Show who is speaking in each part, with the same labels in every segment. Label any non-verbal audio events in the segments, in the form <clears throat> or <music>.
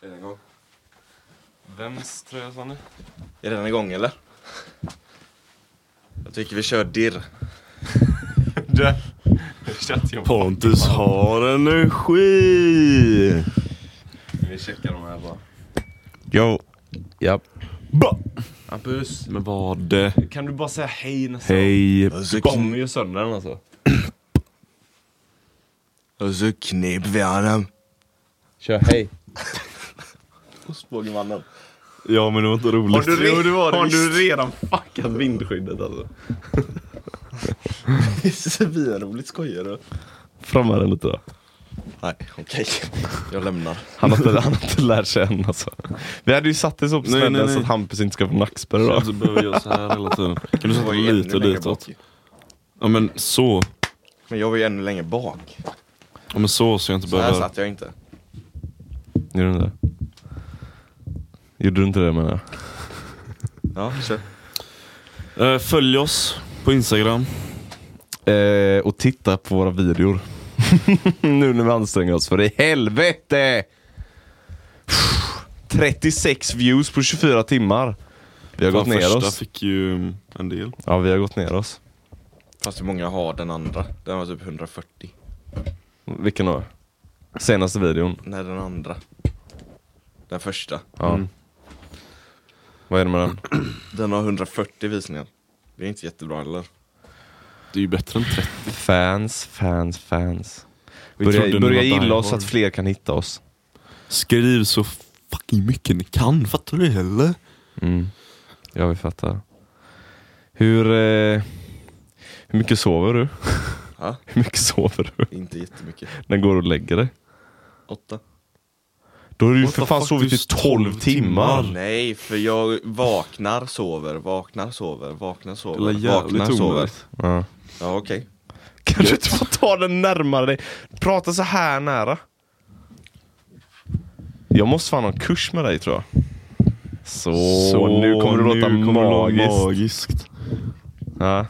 Speaker 1: Redan igång.
Speaker 2: Vems tröja
Speaker 3: <laughs>
Speaker 2: sa ni?
Speaker 1: Är den igång eller? Jag tycker vi kör dirr.
Speaker 2: Du! Chattjobb.
Speaker 3: Pontus har energi!
Speaker 1: Vi checkar de här bara.
Speaker 3: Jo. Ja. Ba.
Speaker 1: Hampus,
Speaker 3: Men vad? eh,
Speaker 1: kan du bara säga hej nästa
Speaker 3: Hej.
Speaker 1: Du kommer ju sönder den alltså.
Speaker 3: Och så knep vi honom.
Speaker 4: Kör hej.
Speaker 1: Ostbågemannen.
Speaker 3: Ja men det var inte roligt.
Speaker 1: Jo, det var det. Har du redan fuckat vindskyddet alltså? <laughs> det är svinroligt, skojar du?
Speaker 3: Fram med den lite då.
Speaker 1: Nej, okej. Jag lämnar.
Speaker 3: Han har inte, han har inte lärt sig än alltså. Vi hade ju satt det så på
Speaker 2: Nej, nej,
Speaker 3: spännen
Speaker 2: nej.
Speaker 3: så att Hampus inte ska få nackspärr idag.
Speaker 2: Du behöver göra så här hela tiden. Kan du sätta lite ditåt? Ja men så.
Speaker 1: Men jag var ju ännu längre bak.
Speaker 2: Ja men så så jag inte
Speaker 1: Så här
Speaker 2: behöver.
Speaker 1: satt jag inte.
Speaker 3: Gjorde du inte det? Gjorde du inte det menar jag?
Speaker 1: Ja, kör.
Speaker 2: Eh, Följ oss på Instagram.
Speaker 3: Eh, och titta på våra videor. <laughs> nu när vi anstränger oss, för i helvete! 36 views på 24 timmar. Vi har gått
Speaker 2: Fan,
Speaker 3: ner
Speaker 2: första
Speaker 3: oss.
Speaker 2: fick ju mm, en del.
Speaker 3: Ja, vi har gått ner oss.
Speaker 1: Fast hur många har den andra? Den var typ 140.
Speaker 3: Vilken då? Senaste videon.
Speaker 1: Nej, den andra. Den första.
Speaker 3: Ja.
Speaker 2: Mm.
Speaker 3: Vad är det med den?
Speaker 1: Den har 140 visningar. Det är inte jättebra heller.
Speaker 2: Det är ju bättre än 30.
Speaker 3: Fans, fans, fans.
Speaker 2: Vi trodde
Speaker 3: Börja,
Speaker 2: ni
Speaker 3: börja
Speaker 2: var
Speaker 3: gilla
Speaker 2: die
Speaker 3: oss så
Speaker 2: hard.
Speaker 3: att fler kan hitta oss.
Speaker 2: Skriv så fucking mycket ni kan, fattar du heller?
Speaker 3: Mm. Ja, vi fattar. Hur, eh, hur mycket sover du? <laughs>
Speaker 1: Ja,
Speaker 3: Hur mycket sover du?
Speaker 1: inte jättemycket.
Speaker 3: När går du och lägger dig?
Speaker 1: Åtta.
Speaker 3: Då har du ju
Speaker 2: What
Speaker 3: för
Speaker 2: the
Speaker 3: fan
Speaker 2: fuck,
Speaker 3: sovit
Speaker 2: du
Speaker 3: i 12
Speaker 2: 12
Speaker 3: timmar.
Speaker 2: timmar.
Speaker 1: Ah, Nej, för jag vaknar, sover, vaknar, sover, vaknar, sover,
Speaker 2: Eller jävligt
Speaker 1: vaknar, sover.
Speaker 2: onödigt.
Speaker 3: Ja.
Speaker 1: Ja, okej.
Speaker 3: Kan du inte få ta den närmare dig? Prata så här nära. Jag måste fan ha en kurs med dig tror jag. Så, nu kommer det låta
Speaker 2: nu kommer det låta
Speaker 3: magiskt.
Speaker 2: magiskt.
Speaker 3: ja.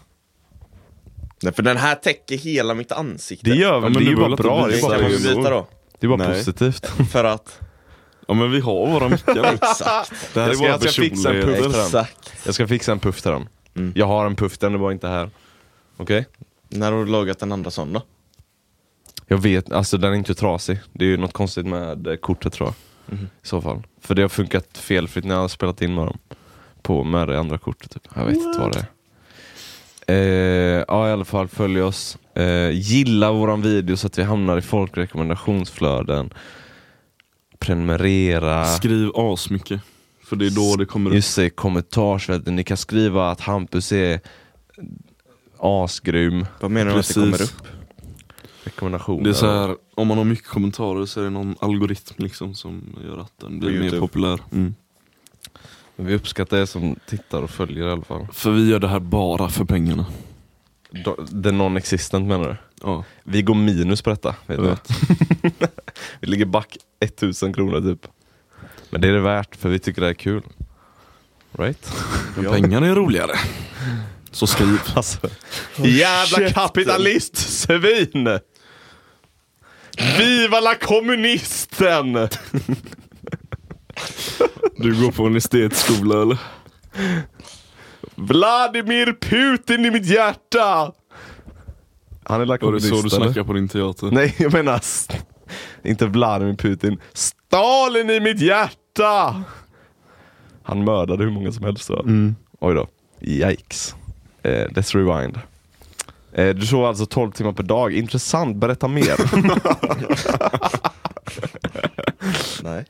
Speaker 1: Nej, för den här täcker hela mitt ansikte.
Speaker 3: Det gör
Speaker 2: men
Speaker 3: vi, men det
Speaker 2: du
Speaker 3: är ju bara
Speaker 2: behöver
Speaker 3: bra.
Speaker 2: inte
Speaker 3: Det är bara,
Speaker 1: det
Speaker 2: visa
Speaker 1: kan man ju
Speaker 2: det.
Speaker 1: byta då.
Speaker 3: det är bara
Speaker 2: Nej.
Speaker 3: positivt.
Speaker 1: För att...
Speaker 2: Ja men vi har våra mickar.
Speaker 1: Exakt.
Speaker 2: Det här är
Speaker 3: Jag ska-
Speaker 2: våra
Speaker 3: jag ska fixa en
Speaker 2: personligheter.
Speaker 3: puddel.
Speaker 1: Exakt.
Speaker 3: Jag ska fixa en puff till den.
Speaker 1: Mm.
Speaker 3: Jag har en puff, den är bara inte här. Okej?
Speaker 1: När har du lagat den andra sån då?
Speaker 3: Jag vet, alltså den är inte trasig. Det är ju något konstigt med eh, kortet tror jag. I så fall. För det har funkat felfritt när jag har spelat in med dem. På, med det andra kortet typ. Jag vet inte vad det är. Eh, ja i alla fall, följ oss. Eh, gilla våran video så att vi hamnar i folkrekommendationsflöden. Prenumerera.
Speaker 2: Skriv asmycket. För det är då det kommer upp.
Speaker 3: Just det, kommentarsfältet. Ni kan skriva att Hampus är asgrym.
Speaker 1: Vad menar du att det
Speaker 2: Precis.
Speaker 1: kommer upp?
Speaker 3: Rekommendationer.
Speaker 2: Det är så här, om man har mycket kommentarer så är det någon algoritm liksom som gör att den blir mer
Speaker 1: YouTube.
Speaker 2: populär. Mm.
Speaker 3: Vi uppskattar er som tittar och följer i alla fall.
Speaker 2: För vi gör det här bara för pengarna.
Speaker 3: Do- The non-existent menar du?
Speaker 2: Ja,
Speaker 3: Vi går minus på detta, vet
Speaker 2: jag
Speaker 3: du.
Speaker 2: vet.
Speaker 3: <laughs> Vi ligger back 1000 kronor typ. Men det är det värt, för vi tycker det är kul. Right?
Speaker 2: Men pengarna är roligare. Så skriv.
Speaker 3: Alltså, <laughs> jävla
Speaker 2: käften.
Speaker 3: kapitalist, svin! Viva la kommunisten!
Speaker 2: <laughs> Du går på en estetskola eller?
Speaker 3: Vladimir Putin i mitt hjärta! Han är la
Speaker 2: <laughs> Var det så du
Speaker 3: kommunist, eller?
Speaker 2: snackade på din teater?
Speaker 3: <laughs> Nej, jag menar st- inte Vladimir Putin. Stalin i mitt hjärta! Han mördade hur många som helst. va? Oj då. Yikes. Eh, let's rewind. Eh, du sov alltså 12 timmar per dag. Intressant, berätta <laughs> mer.
Speaker 1: Nej,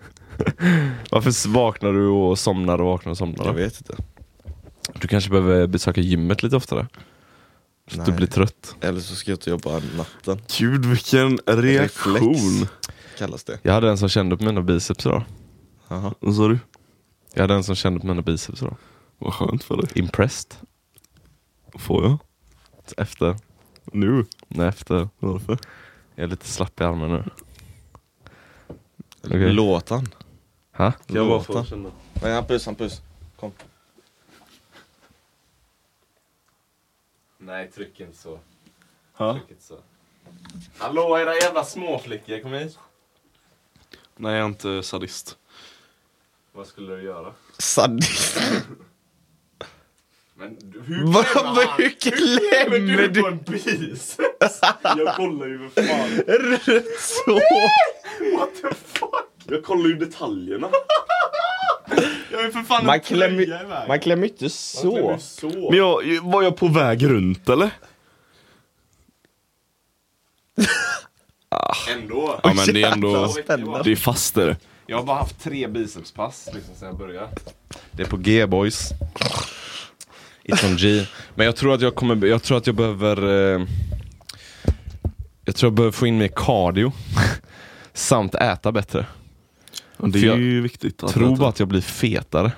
Speaker 3: Varför s- vaknar du och somnar och vaknar och somnar?
Speaker 1: jag vet inte.
Speaker 3: Du kanske behöver besöka gymmet lite oftare? Så att du
Speaker 1: Nej.
Speaker 3: blir trött.
Speaker 1: Eller så ska jag inte jobba natten.
Speaker 2: Gud vilken reaktion.
Speaker 1: Reflex. Kallas det.
Speaker 3: Jag hade en som kände på mina biceps idag.
Speaker 1: Jaha.
Speaker 2: Vad sa du?
Speaker 3: Jag hade en som kände på mina biceps idag.
Speaker 2: Vad skönt för dig.
Speaker 3: Impressed.
Speaker 2: Får jag?
Speaker 3: Efter.
Speaker 2: Nu?
Speaker 3: Nej, efter.
Speaker 2: Varför?
Speaker 3: Jag är lite slapp i armen nu.
Speaker 1: Okay.
Speaker 3: Okej.
Speaker 1: Låt han.
Speaker 3: Ha?
Speaker 1: Låt han. Nej, Hampus, Hampus. Kom.
Speaker 3: Nej, tryck inte så.
Speaker 2: Ha?
Speaker 3: Tryck inte så. Hallå era jävla småflickor, kom hit.
Speaker 2: Nej, jag är inte sadist.
Speaker 3: Vad skulle du göra?
Speaker 1: Sadist. <laughs>
Speaker 2: Men hur
Speaker 3: <laughs>
Speaker 1: Vad hur klämmer du?
Speaker 2: en bis? <laughs> jag kollar ju för fan.
Speaker 1: Rött så.
Speaker 2: Jag kollar
Speaker 3: <laughs>
Speaker 2: ju detaljerna. jag är för fan
Speaker 1: Man klämmer, man klämmer inte så.
Speaker 2: så. Men jag, var jag på väg runt eller?
Speaker 3: Ändå.
Speaker 2: Ja men det är
Speaker 1: Jävlar,
Speaker 2: ändå,
Speaker 1: vad spännande.
Speaker 2: det är fast är det.
Speaker 3: Jag har bara haft tre bicepspass liksom sen jag började. Det är på G boys. It's on G. Men jag tror att jag kommer, jag tror att jag behöver eh, Jag tror jag behöver få in mer cardio. <laughs> Samt äta bättre.
Speaker 2: Och det
Speaker 3: För
Speaker 2: är
Speaker 3: jag
Speaker 2: ju viktigt. Att
Speaker 3: tror bara att jag blir fetare.
Speaker 2: man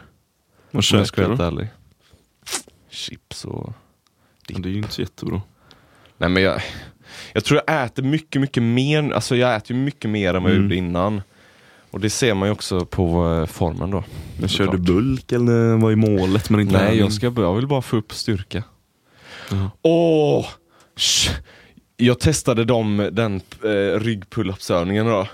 Speaker 3: Om jag ska
Speaker 2: käkar.
Speaker 3: vara helt
Speaker 2: Det.
Speaker 3: ärlig. Chips och...
Speaker 2: Men det är ju inte så jättebra.
Speaker 3: Nej men jag, jag tror jag äter mycket, mycket mer, alltså jag äter ju mycket mer än vad jag
Speaker 2: Mm.
Speaker 3: gjorde innan. Och det ser man ju också på eh, formen då.
Speaker 2: Men
Speaker 3: Såklart.
Speaker 2: kör du bulk eller vad är målet med din
Speaker 3: Nej,
Speaker 2: träning?
Speaker 3: jag, ska, jag vill bara få upp styrka.
Speaker 2: Ja.
Speaker 3: Åh! sh- Jag testade dem, den eh, ryggpull-upsövningen då.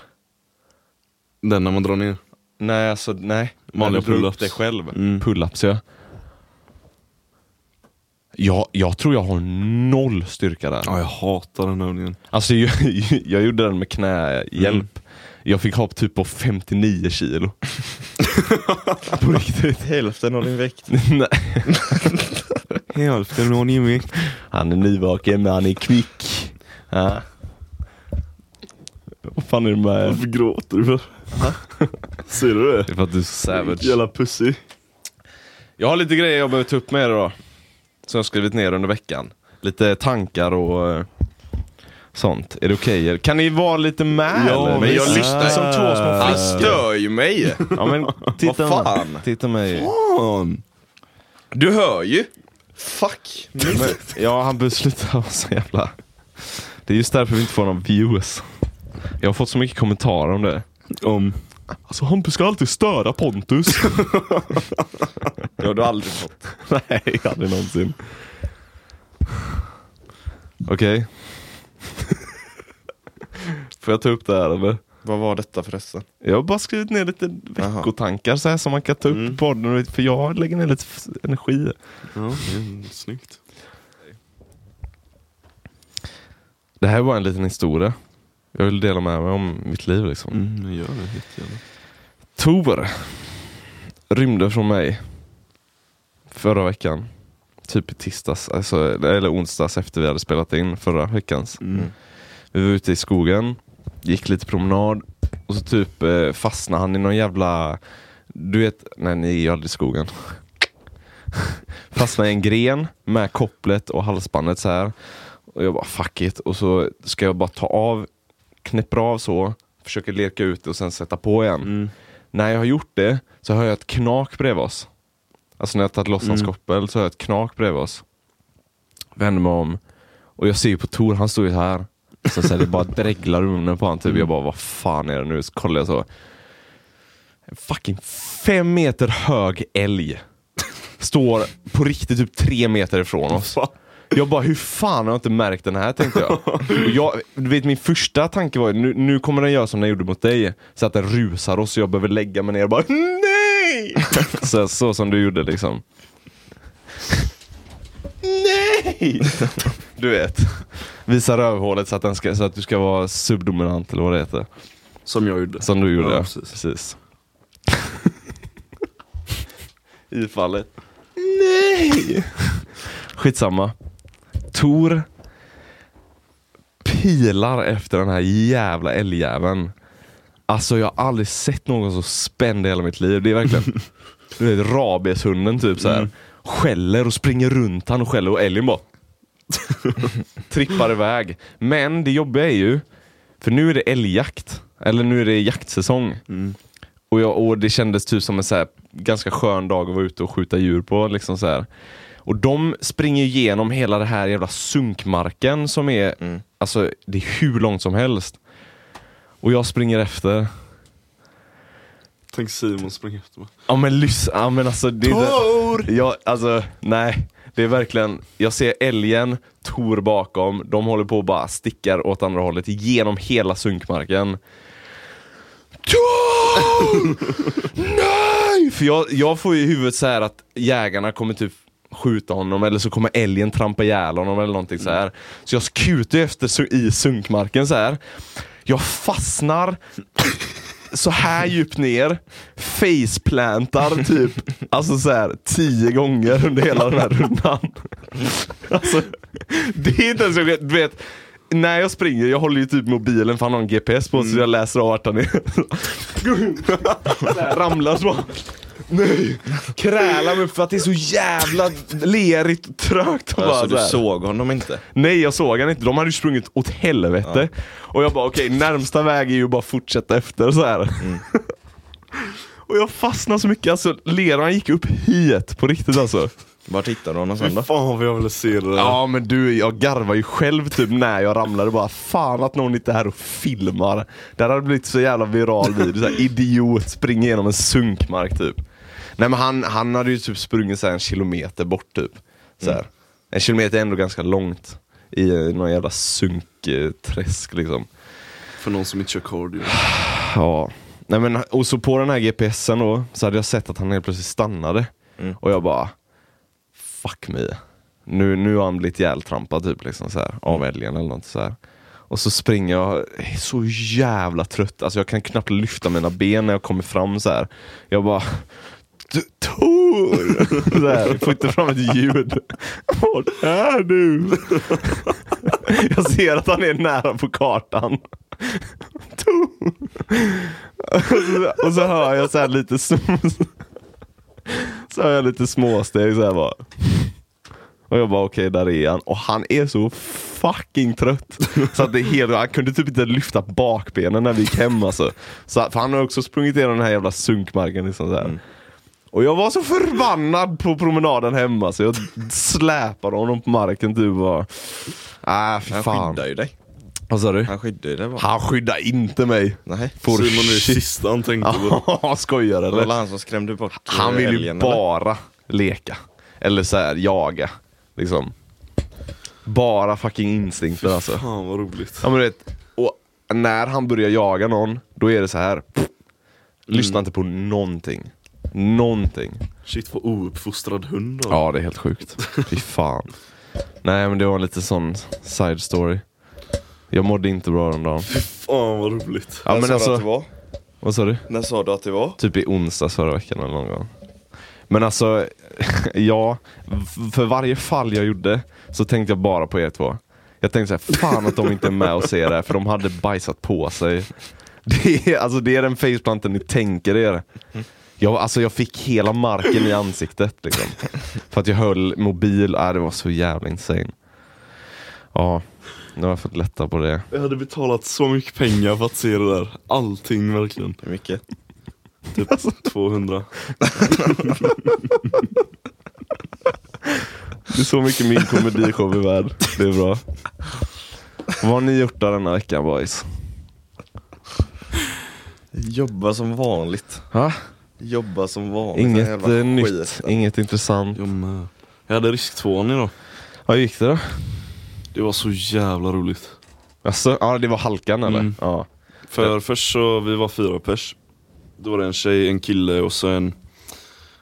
Speaker 2: Den när man drar ner.
Speaker 3: Nej, alltså nej.
Speaker 2: Vanliga
Speaker 3: Jag drog upp
Speaker 2: pull-ups.
Speaker 3: det själv.
Speaker 2: Mm.
Speaker 3: Pull-ups ja. Jag, jag tror jag har noll styrka där.
Speaker 2: Ja, jag hatar den övningen.
Speaker 3: Alltså <laughs> jag, jag gjorde den med knähjälp.
Speaker 2: Mm.
Speaker 3: Jag fick ha typ på 59 kilo. på riktigt.
Speaker 1: Hälften av din vikt.
Speaker 3: Nej.
Speaker 2: Hälften av din vikt.
Speaker 3: Han är nyvaken men han är kvick. Ja. Vad fan är det med?
Speaker 2: Varför gråter du för? Ser du det?
Speaker 3: Det är för att du är så savage.
Speaker 2: Jävla pussy.
Speaker 3: Jag har lite grejer jag behöver ta upp med er då. Som jag har skrivit ner under veckan. Lite tankar och eh, sånt. Är det okej? eller? Kan ni vara lite med
Speaker 2: Ja,
Speaker 3: eller?
Speaker 2: men
Speaker 1: jag
Speaker 3: Visst.
Speaker 1: lyssnar som
Speaker 2: två små
Speaker 1: Han stör ju mig.
Speaker 3: Ja men titta
Speaker 1: Vad fan?
Speaker 3: Titta mig.
Speaker 2: Fan.
Speaker 1: Du hör ju. Fuck.
Speaker 3: Men, ja, han behöver sluta vara så jävla... Det är just därför vi inte får några views. Jag har fått så mycket kommentarer om det.
Speaker 2: Om.
Speaker 3: Alltså Hampus ska alltid störa Pontus.
Speaker 1: Det har du aldrig fått.
Speaker 3: <laughs> Nej, aldrig någonsin. Okej. <laughs> får jag ta upp det här eller?
Speaker 1: Vad var detta förresten?
Speaker 3: Jag har bara skrivit ner lite veckotankar så här som man kan ta upp i podden. För jag lägger ner lite f- energi.
Speaker 2: Ja, det är snyggt.
Speaker 3: Det här var en liten historia. Jag vill dela med mig om mitt liv liksom.
Speaker 2: Mm, men gör det jättegärna.
Speaker 3: Tor rymde från mig förra veckan. Typ i tisdags, alltså, eller onsdags efter vi hade spelat in förra veckans.
Speaker 2: Mm.
Speaker 3: Vi var ute i skogen, gick lite promenad och så typ eh, fastnade han i någon jävla... Du vet, nej ni är ju aldrig i skogen. <laughs> fastnade i en gren med kopplet och halsbandet så här. Och jag bara fuck it. Och så ska jag bara ta av, knäpper av så, försöker lirka ut det och sen sätta på igen.
Speaker 2: Mm.
Speaker 3: När jag har gjort det så hör jag ett knak bredvid oss. Alltså när jag har tagit loss hans koppel så hör jag ett knak bredvid oss. Vänder mig om och jag ser ju på Tor, han står ju här. Så, så här, det bara dreglar ur munnen på honom typ. Jag bara, vad fan är det nu? Så kollar jag så. En fucking fem meter hög älg. Står på riktigt typ tre meter ifrån oss. Jag bara, hur fan har jag inte märkt den här tänkte jag. Och jag du vet, min första tanke var ju, nu, nu kommer den göra som den gjorde mot dig. Så att den rusar oss och jag behöver lägga mig ner och bara, nej! Så, så som du gjorde liksom. Nej! Du vet. Visa rövhålet så att, den ska, så att du ska vara subdominant eller vad det heter.
Speaker 2: Som jag gjorde.
Speaker 3: Som du gjorde,
Speaker 2: Ja,
Speaker 3: ja.
Speaker 2: precis.
Speaker 3: Precis. I fallet. Nej! Skitsamma. Tor pilar efter den här jävla älgjäveln. Alltså jag har aldrig sett någon så spänd i hela mitt liv. Det är verkligen du vet, rabieshunden typ så här. Skäller och springer runt han och skäller och älgen bara trippar iväg. Men det jobbiga är ju, för nu är det älgjakt. Eller nu är det jaktsäsong. Och, jag, och det kändes typ som en så här ganska skön dag att vara ute och skjuta djur på. Liksom så här. Och de springer igenom hela det här jävla sunkmarken som är, alltså det är hur långt som helst. Och jag springer efter.
Speaker 2: Tänk Simon springa efter mig.
Speaker 3: Ja men lyssna, ja, men alltså det är
Speaker 2: Tor!
Speaker 3: Ja, alltså nej. Det är verkligen, jag ser älgen, Tor bakom, de håller på och bara stickar åt andra hållet genom hela sunkmarken. Tom! Nej! För jag, jag får ju i huvudet så här att jägarna kommer typ skjuta honom eller så kommer älgen trampa ihjäl honom eller någonting så här. Så jag skuter ju efter så i sunkmarken så här. Jag fastnar så här djupt ner, faceplantar typ alltså så här, tio gånger under hela den här rundan. Alltså, det är inte ens roligt. Du vet, när jag springer, jag håller ju typ mobilen för han har en GPS på sig så jag
Speaker 1: Mm.
Speaker 3: läser av vart han är. Så här, Ramlar så bara. Nej! Krälar mig upp för att det är så jävla lerigt och trögt. och bara
Speaker 1: Alltså
Speaker 3: så
Speaker 1: du
Speaker 3: här.
Speaker 1: såg honom inte?
Speaker 3: Nej jag såg han inte, de hade ju sprungit åt helvete. Och jag bara okej, närmsta väg är ju bara fortsätta efter så här. <laughs> och jag fastnade så mycket, alltså leran gick upp hit på riktigt alltså.
Speaker 1: Vart hittade du honom
Speaker 2: Fy
Speaker 1: sen då?
Speaker 2: fan vad jag ville se det där.
Speaker 3: Ja men du, jag garvar ju själv typ när jag ramlade bara Fan att någon inte är här och filmar Det här hade blivit så jävla viral video, så här, idiot springer genom en sunkmark typ Nej men han, han hade ju typ sprungit så här en kilometer bort typ så här. En kilometer är ändå ganska långt I eh, någon jävla sunkträsk liksom
Speaker 2: För någon som inte kör cardio.
Speaker 3: Ja. Nej, men, och så på den här GPSen då, så hade jag sett att han helt plötsligt stannade. Och jag bara, fuck me. Nu, nu har han blivit ihjältrampad typ, liksom, så här, av älgen eller något så här. Och så springer jag, jag är så jävla trött. Alltså jag kan knappt lyfta mina ben när jag kommer fram så här. Jag bara, "Du, Tor! <laughs> Så här, får inte fram ett ljud. <laughs> Vart är du? <laughs> Jag ser att han är nära på kartan. Tor! Och så, och så hör jag så här lite sm- Så hör jag lite småsteg så här bara. Och jag bara okej, där är han. Och han är så fucking trött. Så att det är helt, han kunde typ inte lyfta bakbenen när vi gick hem alltså. Så, att- för han har också sprungit igenom den här jävla sunkmarken liksom så här.
Speaker 1: Mm.
Speaker 3: Och jag var så förbannad på promenaden hemma så jag släpade honom på marken typ bara. Ah, fy
Speaker 1: Han
Speaker 3: fan.
Speaker 1: skyddade ju dig.
Speaker 3: Vad sa du?
Speaker 1: Han skyddade ju dig bara.
Speaker 3: Han skyddar inte mig.
Speaker 1: Nej.
Speaker 3: For
Speaker 2: Simon är det
Speaker 3: shit.
Speaker 2: sista han tänkte på.
Speaker 3: Ja, <laughs> skojar
Speaker 1: Det
Speaker 3: eller?
Speaker 1: var väl han som skrämde bort
Speaker 3: Han vill ju
Speaker 1: älgen, eller?
Speaker 3: bara leka. Eller så här, jaga. Liksom. Bara fucking instinkter alltså.
Speaker 2: Fan vad roligt.
Speaker 3: Ja men du vet, och när han börjar jaga någon, då är det så här.
Speaker 1: Mm.
Speaker 3: Lyssna inte på någonting. Någonting.
Speaker 2: Shit vad ouppfostrad hund då.
Speaker 3: Ja det är helt
Speaker 1: <laughs>
Speaker 3: sjukt. Fy fan. Nej men det var en lite sån side story. Jag mådde inte bra den dagen.
Speaker 2: Fan vad roligt.
Speaker 3: Ja
Speaker 1: När
Speaker 3: men
Speaker 1: sa du att det
Speaker 3: alltså,
Speaker 1: var?
Speaker 3: vad sa du?
Speaker 1: När sa du att det var?
Speaker 3: Typ i onsdags förra veckan eller någon gång. Men alltså, <laughs> ja. v- För varje fall jag gjorde så tänkte jag bara på er två. Jag tänkte så här, fan att de inte är med och ser det här för de hade bajsat på sig. <laughs> Det är, alltså, det är den faceplanten ni tänker er. Jag, alltså, jag fick hela marken i ansiktet liksom. För att jag höll mobil, äh, det var så jävla insane. Ja, nu har jag fått lätta på det.
Speaker 2: Jag hade betalat så mycket pengar för att se det där. Allting verkligen.
Speaker 1: Hur mycket?
Speaker 2: Typ 200.
Speaker 3: Det är så mycket min komedishow är värd. Det är bra. Vad har ni gjort där denna veckan boys?
Speaker 1: Jobba som vanligt.
Speaker 3: Ha?
Speaker 1: Jobba som vanligt. Den
Speaker 3: Inget
Speaker 1: jävla
Speaker 3: eh, nytt,
Speaker 1: skiten.
Speaker 3: inget intressant.
Speaker 2: Jag med. Jag hade risktvåan idag.
Speaker 3: Hur gick det då?
Speaker 2: Det var så jävla roligt.
Speaker 3: Alltså, ja det var halkan eller?
Speaker 2: Mm.
Speaker 3: Ja.
Speaker 2: För först så, vi var fyra pers. Då var det en tjej, en kille och så en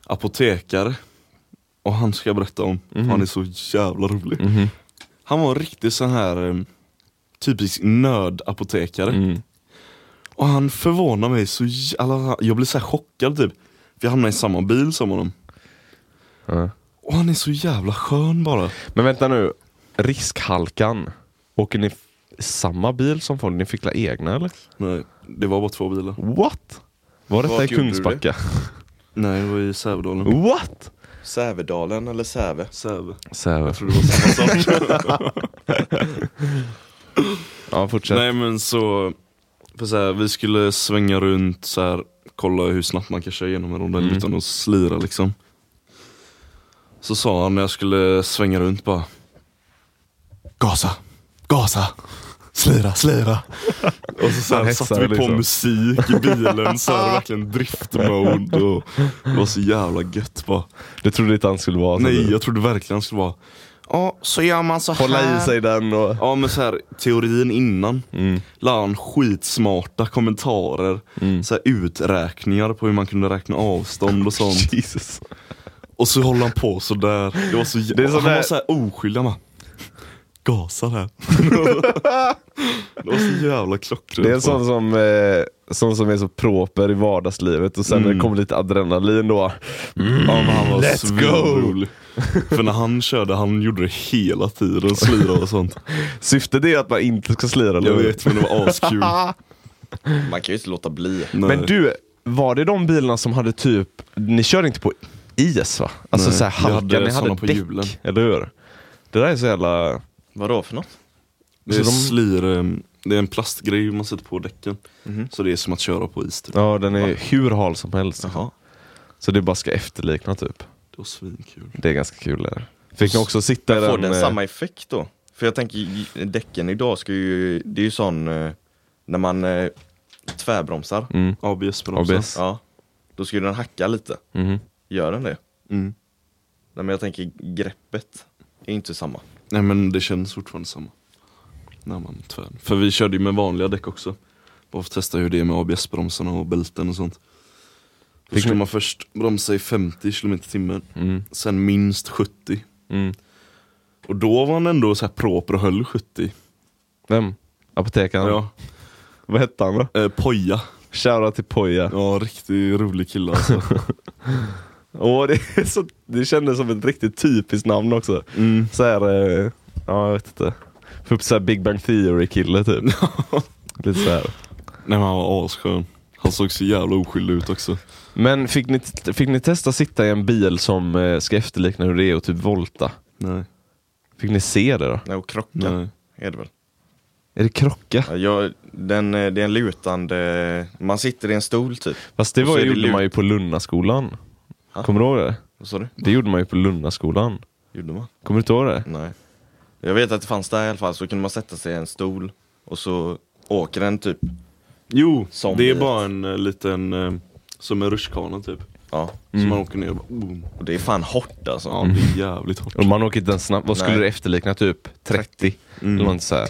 Speaker 2: apotekare. Och han ska jag berätta om. Han är så jävla rolig.
Speaker 3: Mhm.
Speaker 2: Han var en riktig sån här eh, typisk nördapotekare.
Speaker 3: Mm.
Speaker 2: Och han förvånar mig så jä- alla, jag blir så här chockad typ. För jag hamnar i samma bil som honom.
Speaker 3: Ja.
Speaker 2: Och han är så jävla skön bara.
Speaker 3: Men vänta nu, riskhalkan. Åker ni f- samma bil som folk? Ni fick la egna eller?
Speaker 2: Nej, det var bara två bilar.
Speaker 3: What? Var detta
Speaker 1: Vart
Speaker 3: i
Speaker 1: gjorde du
Speaker 3: Kungsbacka?
Speaker 2: Nej, det var i Sävedalen.
Speaker 3: What?
Speaker 1: Sävedalen eller Säve?
Speaker 2: Säve.
Speaker 3: Säve.
Speaker 2: Jag tror det var <laughs> samma sak.
Speaker 3: Ja fortsätt.
Speaker 2: Typ. Nej men så, för så här, vi skulle svänga runt så här, kolla hur snabbt man kan köra igenom en rondell
Speaker 3: Mm.
Speaker 2: utan att slira liksom. Så sa han när jag skulle svänga runt bara Gasa, gasa,
Speaker 3: <laughs>
Speaker 2: slira, slira. Och så, så här,
Speaker 3: Han
Speaker 2: satte
Speaker 3: hetsar
Speaker 2: vi på
Speaker 3: liksom.
Speaker 2: musik i bilen så här, verkligen driftmode och det var så jävla gött bara.
Speaker 3: Du trodde inte han skulle vara så?
Speaker 2: Nej
Speaker 3: du?
Speaker 2: jag trodde verkligen han skulle vara Ja, så gör man så
Speaker 3: Hålla i sig den och...
Speaker 2: Ja men så här, teorin innan.
Speaker 3: Mm.
Speaker 2: La han skitsmarta kommentarer, så här, uträkningar på hur man kunde räkna avstånd och sånt.
Speaker 3: Jesus.
Speaker 2: Och så håller han på sådär. Det var så,
Speaker 3: är sån
Speaker 2: han
Speaker 3: där-
Speaker 2: var såhär oskyldig. Han bara,
Speaker 3: <laughs>
Speaker 2: gasar här. det var så jävla klockrent.
Speaker 3: Det är en sån som, eh, sån som är så proper i vardagslivet och sen när det
Speaker 2: Mm.
Speaker 3: kommer lite adrenalin då.
Speaker 2: Ja, men han var
Speaker 3: Let's
Speaker 2: svinrolig. Mm. För när han körde, han gjorde det hela tiden. Slira och sånt.
Speaker 3: Syftet är att man inte ska slira. eller
Speaker 2: Jag
Speaker 3: hur?
Speaker 2: vet men det var askul.
Speaker 1: Man kan ju inte låta bli.
Speaker 2: Nej.
Speaker 3: <laughs> Men du, var det de bilarna som hade typ, ni körde inte på is va? Alltså
Speaker 2: Nej,
Speaker 3: såhär
Speaker 2: vi hade
Speaker 3: halka, ni hade
Speaker 2: såna på
Speaker 3: däck,
Speaker 2: hjulen.
Speaker 3: eller hur? Det där är så jävla...
Speaker 1: Vadå för något?
Speaker 2: Det är
Speaker 3: Så de-
Speaker 2: slir, ehm, det är en plastgrej man sätter på däcken.
Speaker 1: Mhm.
Speaker 2: Så det är som att köra på is typ.
Speaker 3: Ja, den är hur hal som helst.
Speaker 1: Jaha.
Speaker 3: Så det bara ska efterlikna typ.
Speaker 2: Det var svinkul.
Speaker 3: Det är ganska kul det där. Fick ni också sitta i
Speaker 1: Får
Speaker 3: den?
Speaker 1: den
Speaker 3: eh,
Speaker 1: samma effekt då? För jag tänker, i- i- däcken idag ska ju, det är ju sån, eh, när man eh, tvärbromsar,
Speaker 3: Mm.
Speaker 2: ABS bromsar.
Speaker 3: ABS.
Speaker 1: ja, då ska ju den hacka lite.
Speaker 3: mhm.
Speaker 1: Gör den det?
Speaker 2: Mm.
Speaker 1: Nej men jag tänker greppet är inte samma.
Speaker 2: Nej men det känns fortfarande samma. När man tvär. För vi körde ju med vanliga däck också. Bara för att testa hur det är med ABS-bromsarna och bälten och sånt. Då
Speaker 3: Fick
Speaker 2: skulle
Speaker 3: ni-
Speaker 2: man först bromsa i 50 km timmen.
Speaker 3: Mm.
Speaker 2: Sen minst 70.
Speaker 3: Mm.
Speaker 2: Och då var han ändå så här proper och höll 70.
Speaker 3: Vem? Apotekaren?
Speaker 2: Ja.
Speaker 3: Vad hette han då?
Speaker 2: Eh, poja.
Speaker 3: Shoutout till Poja.
Speaker 2: Ja, riktigt rolig kille alltså.
Speaker 3: <laughs> Åh, det, är så, det kändes som ett riktigt typiskt namn också.
Speaker 2: Mm.
Speaker 3: Så här, eh, ja jag vet inte. Få upp så här Big Bang Theory kille
Speaker 1: <laughs>
Speaker 3: typ. Lite så här.
Speaker 2: Nej men han var asskön. Han såg så jävla oskyldig ut också.
Speaker 3: Men fick ni, fick ni testa sitta i en bil som eh, ska efterlikna hur det är och typ volta?
Speaker 2: Nej.
Speaker 3: Fick ni se det då?
Speaker 1: Nej, och krocka
Speaker 2: Nej.
Speaker 1: är det väl?
Speaker 3: Är det krocka?
Speaker 1: Ja, Jag, den, eh, det är en lutande, man sitter i en stol typ.
Speaker 3: Fast det,
Speaker 1: Och så
Speaker 3: var,
Speaker 1: är det
Speaker 3: gjorde
Speaker 1: lut.
Speaker 3: man ju på Lunnaskolan.
Speaker 1: Ha?
Speaker 3: Kommer du ihåg det?
Speaker 1: Vad sa du?
Speaker 3: Det gjorde man ju på Lunnaskolan.
Speaker 1: Gjorde man?
Speaker 3: Kommer du inte ihåg det?
Speaker 1: Nej. Jag vet att det fanns där i alla fall, så kunde man sätta sig i en stol och så åker den typ.
Speaker 2: Jo,
Speaker 1: Som
Speaker 2: det är
Speaker 1: i
Speaker 2: bara en eh, liten, eh, som en rutschkana typ.
Speaker 1: Ja,
Speaker 3: Mm.
Speaker 2: Som man åker ner och bara, oh.
Speaker 1: och det är fan hårt alltså.
Speaker 2: Ja, det är jävligt hårt.
Speaker 3: Och man åker inte ens snabbt. Vad skulle
Speaker 1: Nej. Mm.
Speaker 3: det efterlikna? Typ 30? Eller något så här.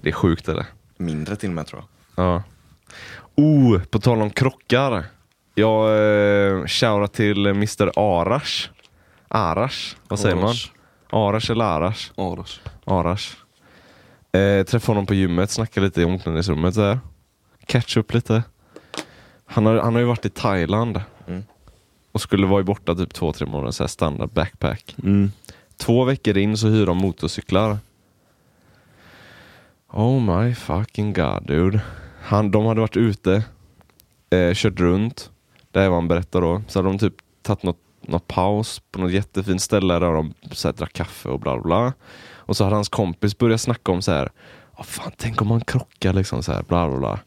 Speaker 3: Det är sjukt det där.
Speaker 1: Mindre till och med tror jag.
Speaker 3: Ja. Oh, på tal om krockar. Jag eh, shoutar till Mr Arash. Arash, vad säger
Speaker 2: Arash.
Speaker 3: man? Arash eller Arash?
Speaker 2: Aras.
Speaker 3: Arash. Eh, träffade honom på gymmet, snackade lite i omklädningsrummet där. Catch up lite. Han har, han har ju varit i Thailand.
Speaker 1: Mm.
Speaker 3: Och skulle vara borta typ två, tre månader, så här standard backpack. Två veckor in så hyr de motorcyklar. Oh my fucking god dude. Han, de hade varit ute, eh, kört runt. Det här är vad han berättar då. Så hade de typ tagit något, något paus på något jättefint ställe där de så här, drack kaffe och bla bla, bla. Och så hade hans kompis börjat snacka om så här. "Ja, fan, tänk om man krockar liksom så här bla bla bla.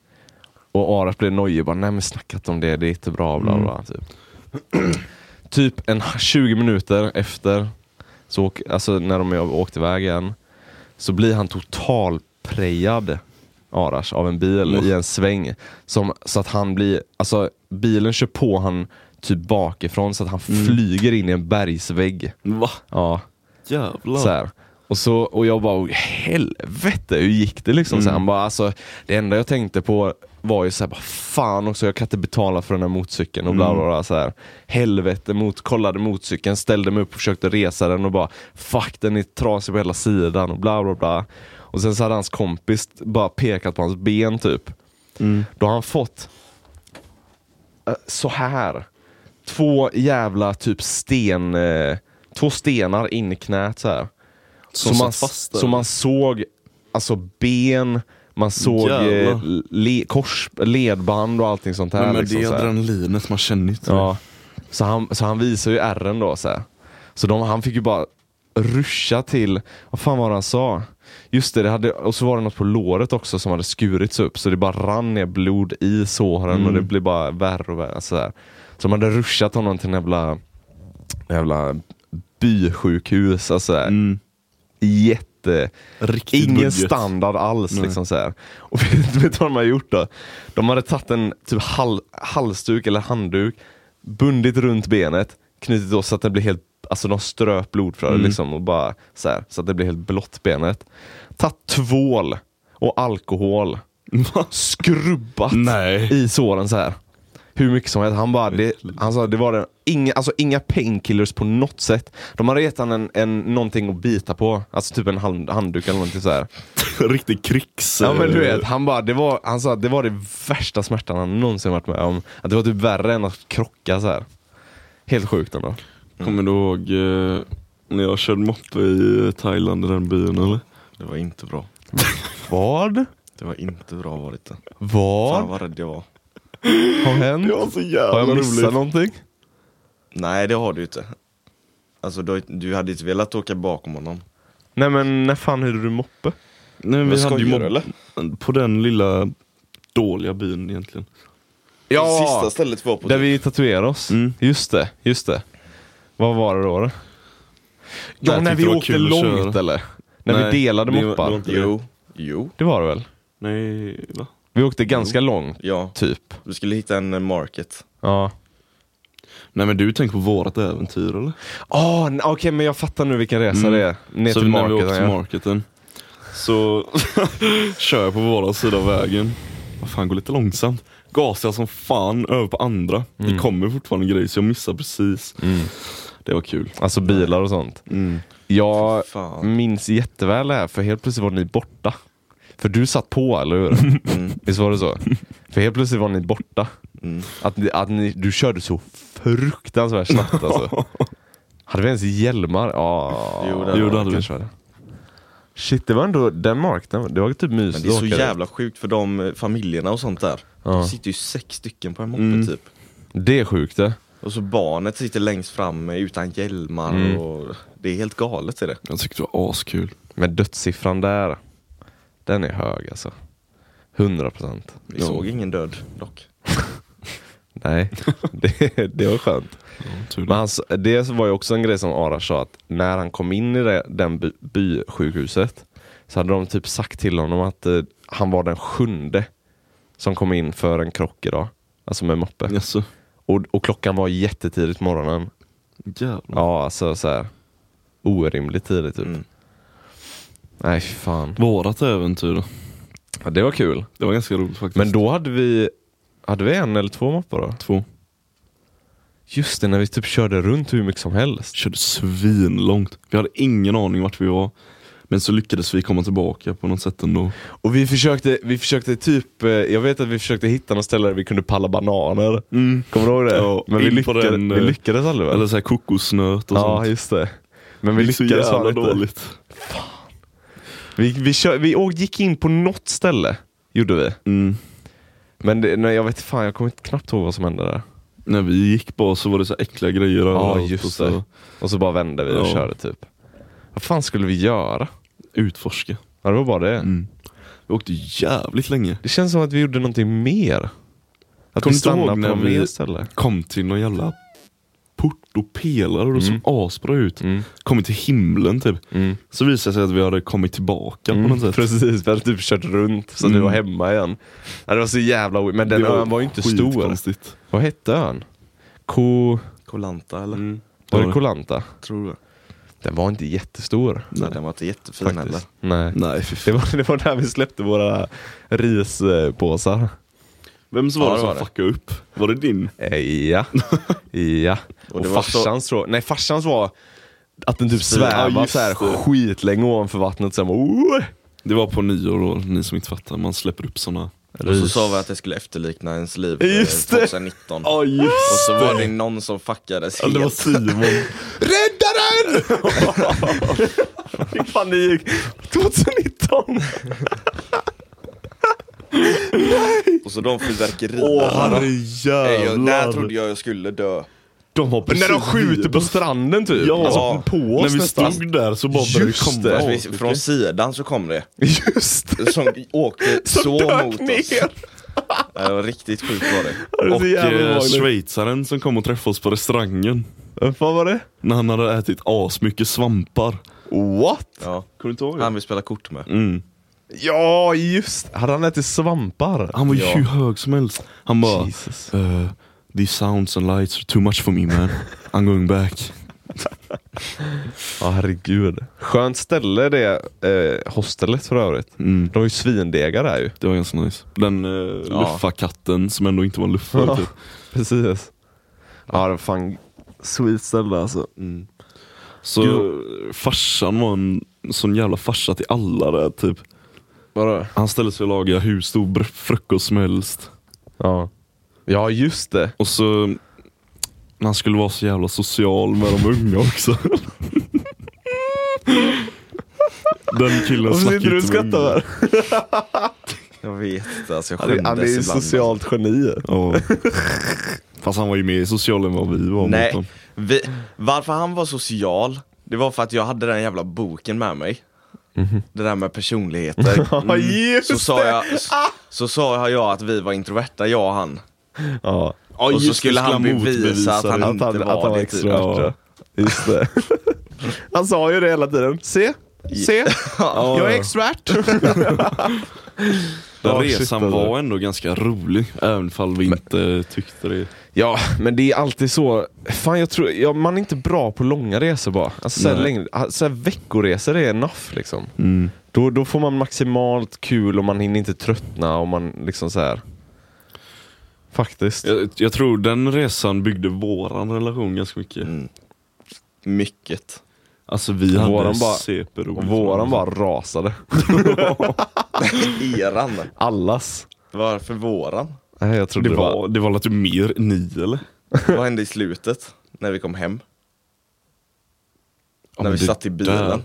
Speaker 3: Och Arat blev nojig bara, nej men snacka inte om det, det är inte bra bla bla. bla typ. typ en 20 minuter efter så åk, alltså när de och jag åkte iväg igen så blir han totalprejad Arash av en bil
Speaker 2: Mm.
Speaker 3: i en sväng. Som, så att han blir, alltså bilen kör på han typ bakifrån så att han flyger in i en bergsvägg.
Speaker 2: Va?
Speaker 3: Ja,
Speaker 2: Jävlar.
Speaker 3: så här. Och, så, och jag bara, "Oj, helvete hur gick det liksom? Så här, han bara, alltså, det enda jag tänkte på var ju såhär, fan också jag kan inte betala för den här motorcykeln och bla bla bla. Så här. Helvete, mot, kollade motorcykeln, ställde mig upp och försökte resa den och bara, fuck den är trasig på hela sidan och bla bla bla. Och sen så hade hans kompis bara pekat på hans ben typ. Då har han fått eh, så här två jävla typ sten, eh, två stenar in i knät så här.
Speaker 2: Som
Speaker 3: så,
Speaker 2: satt
Speaker 3: man,
Speaker 2: fast där.
Speaker 3: så man såg alltså ben, man såg eh,
Speaker 2: Jävlar.
Speaker 3: le, kors, ledband och allting sånt här.
Speaker 2: Nej, men
Speaker 3: liksom,
Speaker 2: det
Speaker 3: så här.
Speaker 2: adrenalinet man känner typ. inte.
Speaker 3: Ja. Så han, så han visar ju ärren då. Så, här. så de, han fick ju bara ruscha till, vad fan var det han sa? Just det, det hade, och så var det något på låret också som hade skurits upp så det bara rann ner blod i såren och det blev bara värre och värre. Så, här. så de hade ruschat honom till en jävla, jävla bysjukhus. Alltså, så här.
Speaker 2: Mm.
Speaker 3: Jätte...
Speaker 2: Riktigt
Speaker 3: Ingen
Speaker 2: budget.
Speaker 3: standard alls. Liksom så här. Och <laughs> vet, vet du vad de har gjort då? De hade tagit en typ hal, halsduk eller handduk, bundit runt benet, knutit åt så att den blev helt Alltså de ströp blodflödet
Speaker 2: Mm.
Speaker 3: liksom och bara så här, så att det blev helt blått benet. Tagit tvål och alkohol, skrubbat
Speaker 2: Nej.
Speaker 3: i såren så här. Hur mycket som helst. Han bara, det, han sa, det var den, inga, alltså, inga painkillers på något sätt. De hade gett han en, en, någonting att bita på, alltså typ en hand, handduk eller någonting så här.
Speaker 2: <laughs> Riktig eh, krigs...
Speaker 3: Ja men du vet, han, bara, det var, han sa att det var det värsta smärtan han någonsin varit med om. Att det var typ värre än att krocka så här. Helt sjukt ändå.
Speaker 2: Kommer du ihåg eh, när jag körde moppe i eh, Thailand i den byn
Speaker 3: Mm.
Speaker 2: eller?
Speaker 1: Det var inte bra.
Speaker 3: Vad?
Speaker 1: Det var inte bra var det inte. Fan
Speaker 3: Vad
Speaker 1: vad rädd jag var.
Speaker 3: har hänt?
Speaker 2: så
Speaker 3: Har
Speaker 2: jävla
Speaker 3: jag missat någonting?
Speaker 1: Nej det har du inte. Alltså du, du hade inte velat åka bakom honom.
Speaker 3: Nej men när fan hyrde du moppe?
Speaker 2: Nej, men
Speaker 1: Men
Speaker 2: vi hade ju
Speaker 1: skojar
Speaker 2: mobb-
Speaker 1: du, eller?
Speaker 2: På den lilla dåliga byn egentligen.
Speaker 1: Det sista stället var på
Speaker 3: Där
Speaker 1: typ-
Speaker 3: vi tatuerade oss.
Speaker 2: Mm.
Speaker 3: Just det, just det. Vad var det då? då?
Speaker 2: Där
Speaker 3: Ja,
Speaker 2: tyckte
Speaker 3: när vi
Speaker 2: det var
Speaker 3: åkte
Speaker 2: kul att
Speaker 3: långt
Speaker 2: köra.
Speaker 3: eller? När
Speaker 2: Nej,
Speaker 3: vi delade
Speaker 2: det var-
Speaker 3: moppar.
Speaker 2: det
Speaker 3: Det
Speaker 2: var
Speaker 3: var,
Speaker 2: inte-
Speaker 1: Jo, jo,
Speaker 3: det väl?
Speaker 2: Nej, va?
Speaker 3: Vi åkte ganska långt,
Speaker 1: ja.
Speaker 3: typ.
Speaker 1: Vi skulle hitta en eh, market.
Speaker 3: Ja.
Speaker 2: Nej men du tänker på vårat äventyr eller?
Speaker 3: Ah, n- Okej, men jag fattar nu vilken resa
Speaker 2: Mm.
Speaker 3: det är. Ner
Speaker 2: så
Speaker 3: till
Speaker 2: när vi
Speaker 3: marketen.
Speaker 2: åkte till
Speaker 3: ja.
Speaker 2: marketen så <laughs> kör jag på våran sida av vägen. Vad fan, går lite långsamt. Gasar jag som fan över på andra. Det
Speaker 3: Mm.
Speaker 2: kommer fortfarande grejer så jag missar precis. Det var kul.
Speaker 3: Alltså bilar och sånt.
Speaker 2: Mm.
Speaker 3: Jag
Speaker 1: Fan.
Speaker 3: minns jätteväl det här, för helt plötsligt var ni borta. För du satt på, eller
Speaker 2: <laughs>
Speaker 3: hur?
Speaker 1: Mm.
Speaker 3: Visst var det så? För helt plötsligt var ni borta.
Speaker 1: Mm.
Speaker 3: Att, ni, att ni, du körde så fruktansvärt snabbt
Speaker 1: <laughs>
Speaker 3: alltså. Hade vi ens hjälmar? Ja,
Speaker 1: Jo, det hade
Speaker 2: Jo, det vi. hade vi.
Speaker 3: kanske var det. Shit, det var ändå den marknaden. Det var typ
Speaker 1: Men
Speaker 3: mysigt
Speaker 1: det är så
Speaker 3: att åka
Speaker 1: jävla sjukt för de eh, familjerna och sånt där.
Speaker 3: Ja.
Speaker 1: De sitter ju sex stycken på en moppe
Speaker 2: Mm.
Speaker 1: typ.
Speaker 3: dit. Det är sjukt det.
Speaker 1: Och så barnet sitter längst fram eh, utan hjälmar
Speaker 3: Mm.
Speaker 1: och det är helt galet är det.
Speaker 2: Jag tyckte det var askul.
Speaker 3: Men dödssiffran där, den är hög alltså. 100 procent.
Speaker 1: Vi
Speaker 2: Ja.
Speaker 1: såg ingen död dock. <laughs>
Speaker 3: Nej, det, det var skönt.
Speaker 2: Tur
Speaker 3: Men
Speaker 2: det.
Speaker 3: hans, det var ju också en grej som Arash sa att när han kom in i det, den by, bysjukhuset så hade de typ sagt till honom att eh, han var den sjunde som kom in för en krock idag. Alltså med moppe.
Speaker 2: Jaså?
Speaker 3: Och, och klockan var jättetidigt på morgonen.
Speaker 2: Jävlar.
Speaker 3: Ja, alltså så här orimligt tidigt typ.
Speaker 1: Mm.
Speaker 3: Nej, fy fan.
Speaker 2: Vårat äventyr då.
Speaker 3: Ja, det var kul.
Speaker 2: Det var ganska roligt faktiskt.
Speaker 3: Men då hade vi, hade vi en eller två moppar då?
Speaker 2: Två.
Speaker 3: Just det, när vi typ körde runt hur mycket som helst.
Speaker 2: Körde svinlångt. Vi hade ingen aning vart vi var. Men så lyckades vi komma tillbaka på något sätt ändå.
Speaker 3: Och vi försökte, vi försökte typ, eh, jag vet att vi försökte hitta något ställe där vi kunde palla bananer. Kommer du ihåg det?
Speaker 2: Ja,
Speaker 3: Men vi,
Speaker 2: in på
Speaker 3: lyckades,
Speaker 2: den, eh,
Speaker 3: vi lyckades aldrig väl?
Speaker 2: Eller så här kokosnöt och
Speaker 3: ja,
Speaker 2: sånt.
Speaker 3: just det. Men vi
Speaker 2: Det gick så
Speaker 3: lyckades fan
Speaker 2: jävla
Speaker 3: inte.
Speaker 2: dåligt.
Speaker 3: Vi, vi, kör, vi å- gick in på något ställe, gjorde vi.
Speaker 2: Mm.
Speaker 3: Men det, nej, jag vet fan, jag kommer inte knappt ihåg vad som hände där.
Speaker 2: När vi gick bara så var det så här äckliga grejer
Speaker 3: Ja,
Speaker 2: överallt och
Speaker 3: just
Speaker 2: så
Speaker 3: det.
Speaker 2: här
Speaker 3: Och så bara vände vi och
Speaker 2: Ja.
Speaker 3: körde typ. Vad fan skulle vi göra?
Speaker 2: Utforska.
Speaker 3: Ja, det var bara det.
Speaker 2: Mm. Vi åkte jävligt länge.
Speaker 3: Det känns som att vi gjorde någonting mer. Att vi
Speaker 2: Kommer du inte ihåg
Speaker 3: stannade på
Speaker 2: när
Speaker 3: något
Speaker 2: vi-
Speaker 3: mer ställe.
Speaker 2: Kom till någon jävla port och pelare och det såg asbra ut.
Speaker 3: Mm.
Speaker 2: Kommit till himlen typ.
Speaker 3: Mm.
Speaker 2: Så visade det sig att vi hade kommit tillbaka på något
Speaker 3: Mm,
Speaker 2: sätt.
Speaker 3: precis, vi hade typ kört runt så du
Speaker 2: Mm.
Speaker 3: var hemma igen. Ja, det var så jävla weird. Men den ön var ju inte stor.
Speaker 2: skitkonstigt.
Speaker 3: Vad hette ön? Ko...
Speaker 1: Kolanta eller?
Speaker 2: Mm.
Speaker 3: Var
Speaker 2: Ja,
Speaker 3: det
Speaker 2: det-
Speaker 3: Kolanta?
Speaker 1: Tror du?
Speaker 3: Den var inte jättestor.
Speaker 1: Nej den var inte jättefin heller.
Speaker 3: Faktiskt. Nej.
Speaker 2: Nej fy
Speaker 3: Det
Speaker 2: fan.
Speaker 3: var, <laughs> det var där vi släppte våra rispåsar.
Speaker 2: Vem så var
Speaker 1: Ja,
Speaker 2: det
Speaker 1: det
Speaker 2: som
Speaker 1: var det.
Speaker 2: fuckade upp? Var det din?
Speaker 3: Eh, <laughs> Ja. ja. Och,
Speaker 1: det var så-
Speaker 3: farsans tror Nej, farsans var att den typ
Speaker 2: Ja,
Speaker 3: svävade
Speaker 2: just
Speaker 3: så här
Speaker 2: det.
Speaker 3: skitlänge ovanför vattnet. Sen bara, oh!
Speaker 2: Det var på nyår då, ni som inte fattar. Man släpper upp såna.
Speaker 1: Och så sa vi att det skulle efterlikna ens liv eh,
Speaker 3: Just det!
Speaker 1: 2019.
Speaker 2: Ja just
Speaker 1: Och så var det någon som fuckades
Speaker 2: det! Det var
Speaker 1: helt.
Speaker 2: Simon.
Speaker 3: Räddaren! I panik. 2019. typ-
Speaker 1: Och så de fyrverkerierna.
Speaker 2: Åh
Speaker 1: Nej, jag- Där
Speaker 2: herrejävlar.
Speaker 1: trodde jag jag skulle dö.
Speaker 2: De har
Speaker 3: När de skjuter på stranden typ.
Speaker 2: Ja,
Speaker 3: alltså, på oss
Speaker 2: När vi
Speaker 3: nästan.
Speaker 2: stod där så bara började det
Speaker 3: Just
Speaker 2: komma
Speaker 3: det.
Speaker 1: Fast
Speaker 2: avtryck.
Speaker 1: Alltså, vi, från sidan så kom det.
Speaker 3: <laughs> Just det. <laughs>
Speaker 1: Som åkte
Speaker 3: Som
Speaker 1: så
Speaker 3: dök
Speaker 1: mot oss.
Speaker 3: ner.
Speaker 1: <laughs> Ja, Det var riktigt sjukt var det.
Speaker 3: Ja, det är så
Speaker 2: Och
Speaker 3: jävla
Speaker 2: eh,
Speaker 3: obehagligt.
Speaker 2: schweizaren som kom och träffade oss på restaurangen.
Speaker 3: Vad fan var det?
Speaker 2: När han hade ätit asmycket svampar.
Speaker 3: What?
Speaker 1: Ja.
Speaker 2: Kommer du inte ihåg det?
Speaker 1: Han vill spela kort med.
Speaker 2: Mm.
Speaker 3: Ja, just Hade han ätit svampar?
Speaker 2: Han var ju
Speaker 1: Ja.
Speaker 2: hur hög som helst. Han bara "Eh,
Speaker 3: Jesus.
Speaker 2: uh, These sounds and lights are too much for me man. I'm going back.
Speaker 3: Ja, herregud. Skönt ställe det eh, hostelet för övrigt.
Speaker 2: Mm.
Speaker 3: De har ju svindegar där ju.
Speaker 2: Det var ganska nice. Den eh, luffarkatten som ändå inte var en luffar.
Speaker 3: Ja.
Speaker 2: Typ.
Speaker 3: Precis. Ja, det var fan sweet ställe alltså.
Speaker 2: Så farsan var en sån jävla farsa till alla där typ.
Speaker 3: Vadå?
Speaker 2: Han ställde sig och lagade hur stor br- frukost som helst.
Speaker 3: Ja. Ja, just det.
Speaker 2: Och så när han skulle vara så jävla social med de unga också.
Speaker 3: <laughs>
Speaker 2: Den killen
Speaker 3: Varför
Speaker 2: snackar
Speaker 3: sitter du och
Speaker 2: inte med
Speaker 3: skrattar?
Speaker 2: unga.
Speaker 3: där?
Speaker 1: Jag vet inte, alltså jag
Speaker 3: Han är,
Speaker 1: skämdes
Speaker 3: han är ju
Speaker 1: ibland.
Speaker 3: socialt geni.
Speaker 2: Ja. Fast han var ju mer i social än vad vi var. mot
Speaker 1: Nej,
Speaker 2: dem.
Speaker 1: vi, varför han var social, det var för att jag hade den jävla boken med mig. Det där med personligheter.
Speaker 3: Ja, just
Speaker 1: Så sa, jag, så sa jag att vi var introverta, jag och han.
Speaker 3: Ja.
Speaker 2: Ja,
Speaker 1: Och så
Speaker 2: just det,
Speaker 1: skulle han bevisa att han
Speaker 2: det.
Speaker 1: inte
Speaker 3: att han,
Speaker 1: var
Speaker 3: att han var
Speaker 1: det,
Speaker 3: extrovert.
Speaker 2: typ.
Speaker 3: Ja. Just det. <laughs> Han sa ju det hela tiden. Se, se, jag är <laughs> extrovert.
Speaker 2: Den
Speaker 3: Ja, shit,
Speaker 2: resan
Speaker 3: alltså.
Speaker 2: var ändå ganska rolig, även fall vi inte tyckte det.
Speaker 3: Ja, men det är alltid så. Fan, jag tror, ja, man är inte bra på långa resor bara. Alltså, så här
Speaker 2: Nej.
Speaker 3: längre, så här, veckoresor är enough liksom. Då, då får man maximalt kul och man hinner inte tröttna och man liksom så här. Faktiskt.
Speaker 2: Jag, jag tror den resan byggde våran relation ganska mycket.
Speaker 1: Mm. Mycket.
Speaker 2: Alltså vi hade
Speaker 3: Våran bara- Och
Speaker 2: superroligt.
Speaker 3: våran bara rasade.
Speaker 1: Eran.
Speaker 3: Allas.
Speaker 1: Varför våran?
Speaker 3: Nej, jag
Speaker 2: Det
Speaker 3: trodde det,
Speaker 2: var, det var lite mer ni eller?
Speaker 1: Vad hände i slutet? När vi kom hem?
Speaker 2: Ja,
Speaker 1: när
Speaker 2: men
Speaker 1: vi
Speaker 2: det
Speaker 1: satt i bilen?
Speaker 2: där.